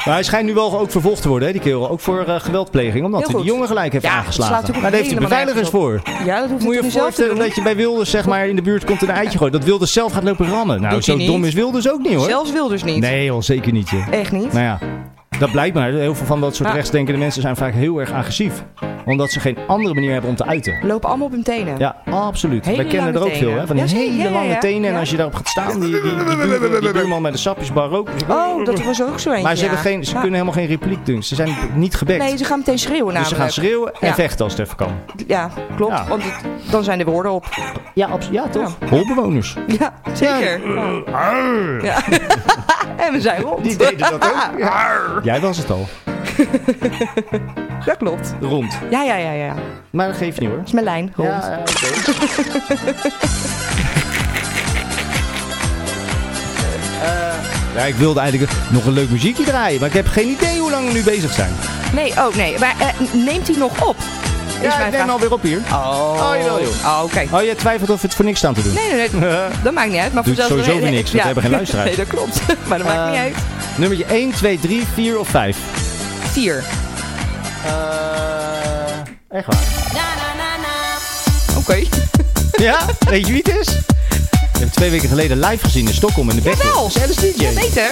Maar hij schijnt nu wel ook vervolgd te worden, hè, die kerel. Ook voor eh, geweldpleging, omdat
Heel
hij die
goed.
jongen gelijk heeft
Ja,
aangeslagen.
slaat ook
maar daar heeft de
helemaal
beveiligers voor.
Ja, dat hoeft
Moet je
je
je
zelf te
voorstellen
doen.
dat je bij Wilders zeg maar, in de buurt komt en een eitje gooit. Dat Wilders zelf gaat lopen rammen. Nou,
Doet
zo
hij
dom
niet.
is Wilders ook niet hoor.
Zelfs wil dus niet.
Nee joh, zeker niet. joh.
Echt Ah. niet.
Nou ja, dat blijkt maar. Heel veel van dat soort
Ja.
rechtsdenkende mensen zijn vaak heel erg agressief. Omdat ze geen andere manier hebben om te uiten.
We lopen allemaal op hun tenen.
Ja, absoluut.
Hele
Wij kennen er
lange
ook veel, hè?
tenen.
Van die
Ja, zeker.
hele
Ja, ja,
lange
ja.
tenen. En
Ja.
als je daarop gaat staan, die, die, die, buurman- die buurman met de sapjesbar ook.
Oh, dat was ook zo eentje.
Maar ze, hebben
ja.
geen, ze
Ja.
kunnen helemaal geen repliek doen. Ze zijn niet gebekt.
Nee, ze gaan meteen
dus
schreeuwen namelijk.
ze gaan schreeuwen en
Ja.
vechten als het even kan.
Ja, klopt.
Ja.
Want het- dan zijn de woorden op.
Ja, absoluut. Ja, toch? Holbewoners.
Ja, zeker. Ja. Ja. en we zijn rond.
Die deden dat ook. Jij was het al.
Dat klopt.
Rond.
Ja, ja, ja, ja. ja. Dat
Maar dat geeft niet hoor.
is mijn lijn. Rond.
Ja, ik wilde eigenlijk nog een leuk muziekje draaien, maar ik heb geen idee hoe lang we nu bezig zijn.
Nee, oh nee. Maar eh, neemt hij nog op? Is
Ja, ik
mijn
neem
vraag.
alweer op hier. Oh, jawel, joh.
Oh, oké.
Oh, je twijfelt of we het voor niks staan te doen?
Nee, nee, nee. Dat maakt niet uit. Maar
Doet
voor
sowieso weer niks, want we hebben geen luisteraars. Eh.
nee, dat klopt. Maar dat maakt niet uit.
Nummertje 1, 2, 3, 4 of 5?
Vier.
Echt waar?
Oké.
Ja? Weet je wie het is? We hebben twee weken geleden live gezien in Stockholm in de Battle.
Jawel.
Dat is Alice DJ.
Ja, beter.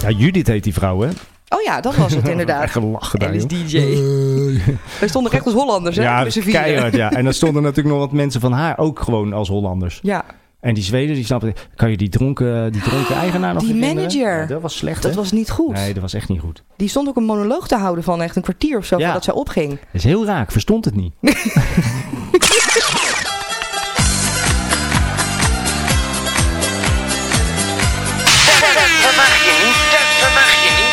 Ja, Judith heet die vrouw, hè?
Oh ja, dat was het inderdaad.
Echt gelachen daar,
Alice
joh. Eh.
DJ. We stonden echt als Hollanders, hè?
Ja,
met z'n vieren.
keihard, ja. En dan stonden natuurlijk nog wat mensen van haar ook gewoon als Hollanders.
Ja,
En die Zweden, die snapten... Kan je die dronken, eh, die dronken eigenaar nog
Ah, die
herinneren?
manager.
Ja, dat was slecht,
dat
hè?
was niet goed.
Nee, dat was echt niet goed.
Die stond ook een monoloog te houden van echt een kwartier of zo,
Ja.
voordat zij opging.
Dat is heel raar. Ik verstond het niet.
Dat verwacht je niet, dat verwacht je niet.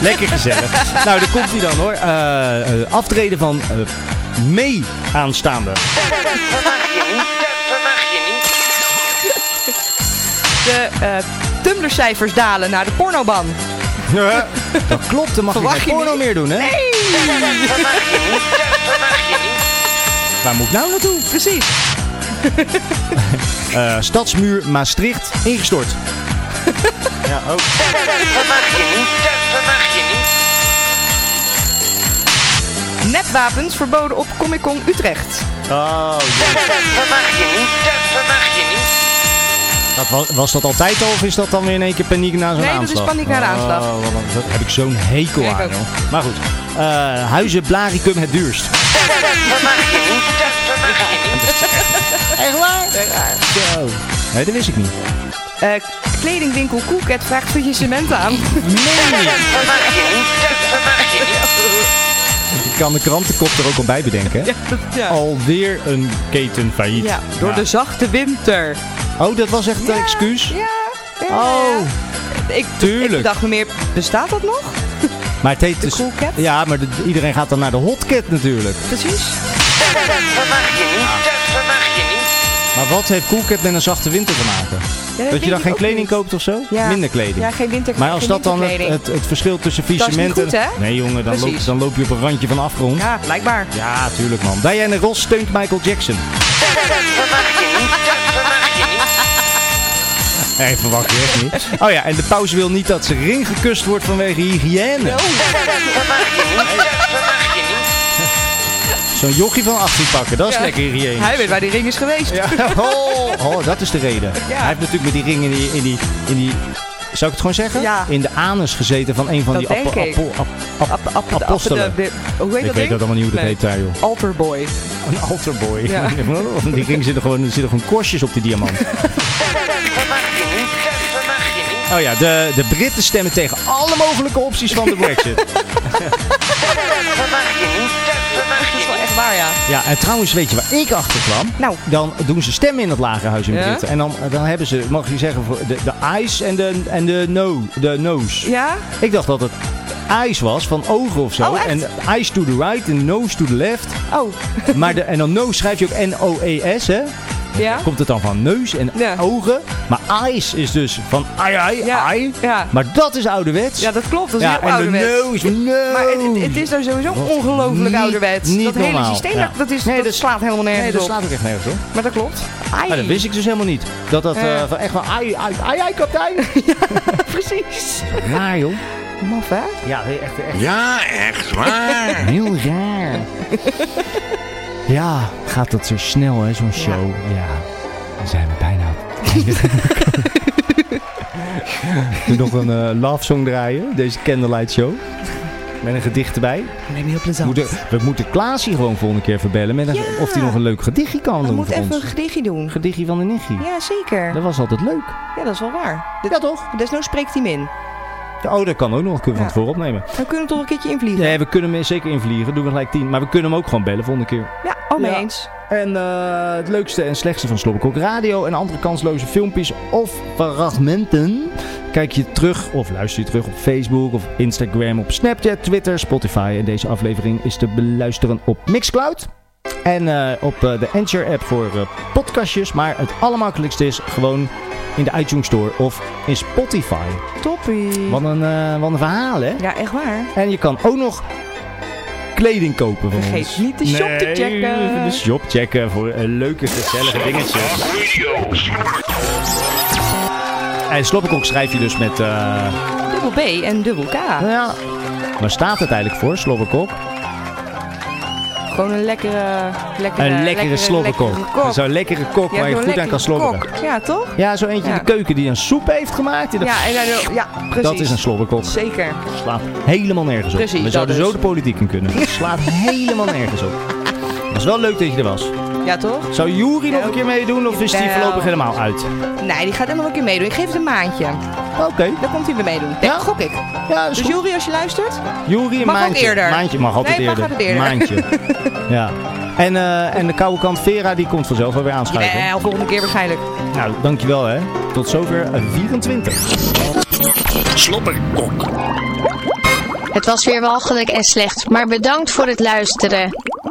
Lekker gezellig. nou, daar komt hij dan, hoor. Eh, eh, aftreden van eh, mee aanstaande.
Dat verwacht je niet, dat verwacht je niet.
De eh Tumblr-cijfers dalen naar de pornoban.
Ja, dat klopt. Dan mag je
Verwacht
geen
je
porno meer doen, hè?
Dat verwacht je niet, dat verwacht je niet.
Waar moet ik nou naartoe?
Precies.
Eh, Stadsmuur Maastricht ingestort. ja, ook.
Dat verwacht je niet, dat verwacht je niet.
Nepwapens verboden op Comic-Con Utrecht.
Oh,
verwacht je niet, dat verwacht je niet.
dat was, was dat altijd al of is dat dan weer in één keer paniek na zo'n
Nee, dat is
aanslag?
paniek na de aanslag.
Oh, wat een- daar heb ik zo'n hekel
Ja, ik
aan,
ook.
joh. Maar goed, Eh, huizen Blaricum het duurst.
Verwacht je niet, dat verwacht je niet.
Echt waar?
Zo. Nee, dat wist ik niet.
Eh, kledingwinkel Coolcat vraagt voor je cement aan.
Verwacht je niet, dat verwacht je niet.
Ik kan de krantenkop er ook al bij bedenken. hè?
ja.
Alweer een keten failliet.
Oh. Ja, door de zachte winter.
Oh, dat was echt een excuus?
Ja.
Oh,
Ik, ik
tuurlijk.
dacht meer, bestaat dat nog?
Maar het heet dus...
cool cat?
Ja, maar de- iedereen gaat dan naar de hotcat natuurlijk.
Precies.
Dat verwacht je niet, dat verwacht je niet.
Maar wat heeft Coolcat met een zachte winter te maken?
dat
dat
weet
je dan
ik
geen
ook
kleding
niet.
koopt of zo?
Ja.
Minder kleding.
Ja, geen winter-
Maar als
geen
dat dan het,
winterkleding.
het, het verschil tussen vies
Dat is niet
cement
goed,
en...
hè?
Nee jongen, dan loop,
Precies.
dan loop je op een randje van afgrond. Ja,
Ja, blijkbaar.
tuurlijk man. Diana Ross steunt Michael Jackson.
Dat verwacht je niet, dat verwacht je niet.
Nee, verwacht je echt niet. Oh ja, en de paus wil niet dat zijn ring gekust wordt vanwege hygiëne.
Dat verwacht je niet, dat verwacht je niet.
Zo'n jochie van 18 pakken, dat is
Ja.
lekker hygiëne.
Hij weet waar die ring is geweest.
Ja, oh, oh, dat is de reden. Hij heeft natuurlijk met die ring in die... In die, in die zou ik het gewoon zeggen?
Ja.
In de anus gezeten van een van
Dat
die apo-
denk ik.
apo- ap- ap-
App- app- de-
apostelen.
app- de- de- hoe heet
ik
dat
weet dat allemaal niet hoe dat heet daar, joh.
Alterboy.
Een alterboy.
Ja.
die ring zitten gewoon, er zitten gewoon korstjes op die diamant.
Verwacht je niet, dat verwacht je niet.
Oh ja, de, de Britten stemmen tegen alle mogelijke opties van de brexit.
Dat verwacht je niet, dat verwacht
Dat
je
is wel
niet.
echt waar, ja.
Ja, en trouwens, weet je waar ik achter kwam?
Nou.
Dan doen ze stemmen in het lagerhuis in
Ja?
Britten. En dan, dan hebben ze, mag je zeggen, voor de, de eyes en de, en de, no, de nose.
Ja?
Ik dacht dat het eyes was, van ogen of zo.
Oh, echt?
en eyes to the right en nose to the left.
Oh,
Maar de, en dan nose schrijf je ook N-O-E-S, hè?
ja?
Komt het dan van neus en
Ja.
ogen? Maar eyes is dus van ai, ai,
Ja,
ai.
ja.
Maar dat is ouderwets.
Ja, dat klopt. Dat is
Ja,
heel
en
ouderwets.
de nose, no.
Maar het, het- het is nou sowieso ongelooflijk
niet-
ouderwets.
niet
dat hele
normaal.
systeem,
Ja.
dat, dat is,
Nee,
dat
dat-
slaat helemaal nergens
Nee, dat
op.
slaat ook echt nergens op.
Maar dat klopt. Ai.
Maar dat wist ik dus helemaal niet. Dat dat
Eh.
eh, van echt van ai, ai, ai, ai, kapitein.
Precies.
Raar, joh.
Maf, hè?
Ja, echt, echt
Ja, echt waar.
heel raar. ja, gaat dat zo snel, hè, zo'n show. Ja, dan zijn we bijna op het einde gekomen. Doe nog een eh, love song draaien, deze Candlelight Show. Met een gedicht erbij.
Lijkt me heel plezant.
Moeten, we moeten Klaas hier gewoon volgende keer verbellen. Met een-
Ja.
Of hij nog een leuk gedichtje kan doen
We
voor
moeten even
ons.
een gedichtje doen.
gedichtje van de nichtje.
Ja, zeker.
Dat was altijd leuk.
Ja, dat is wel waar.
Ja, toch?
Desnoods spreekt hij hem in.
Oh, dat kan ook nog. Kunnen we van
Ja.
tevoren opnemen.
Dan kunnen we toch een keertje invliegen.
Nee, we kunnen hem zeker invliegen. Doen we gelijk tien. Maar we kunnen hem ook gewoon bellen volgende keer.
Ja, al mee
Ja.
eens.
En eh, het leukste en slechtste van Slobberkok Radio en andere kansloze filmpjes of fragmenten. Kijk je terug of luister je terug op Facebook of Instagram, op Snapchat, Twitter, Spotify. En deze aflevering is te beluisteren op Mixcloud. En eh, op eh, de Anchor app voor eh, podcastjes. Maar het allermakkelijkste is gewoon in de iTunes Store of in Spotify.
Toppie.
Wat een, eh, wat een verhaal hè?
Ja, echt waar.
En je kan ook nog kleding kopen van
Vergeet
ons.
niet de shop te
Nee,
checken.
even De shop checken voor een leuke, gezellige dingetjes. En sloppenkok schrijf je dus met... eh,
Dubbel B en dubbel K.
nou ja, waar staat het eigenlijk voor, sloppenkok?
Gewoon een lekkere... lekkere
een lekkere, slobberkok.
lekkere kok.
Zo'n lekkere kok
Ja,
waar je
zo'n
goed aan
lekkere
kan slobberen.
kok. Ja, toch?
Ja, zo eentje
Ja.
in de keuken die een soep heeft gemaakt. Die dacht,
Ja, en dan, ja precies.
dat is een slobberkok.
Zeker.
slaat helemaal nergens op.
Precies,
We zouden
dat
zo
dus.
de politiek in kunnen. Het slaat helemaal nergens op. Was wel leuk dat je er was.
Ja, toch?
Zou Juri nog een keer meedoen of is die
Jawel.
voorlopig helemaal uit?
Nee, die gaat helemaal een keer meedoen. Ik geef het een maandje.
Oké.
Dan komt hij weer meedoen. Denk,
Ja?
gok ik.
Ja, dat is
Dus
goed.
Jury, als je luistert,
Juri, een
Mag ook
maandje.
eerder.
Maandje mag altijd
Nee, mag
eerder.
altijd eerder.
Maandje. ja. En, eh, en de koude kant Vera, die komt vanzelf wel weer aanschuiven.
wel Eh, volgende keer waarschijnlijk.
Nou, dankjewel hè. Tot zover eh, 24.
Het was weer walgelijk en slecht, maar bedankt voor het luisteren.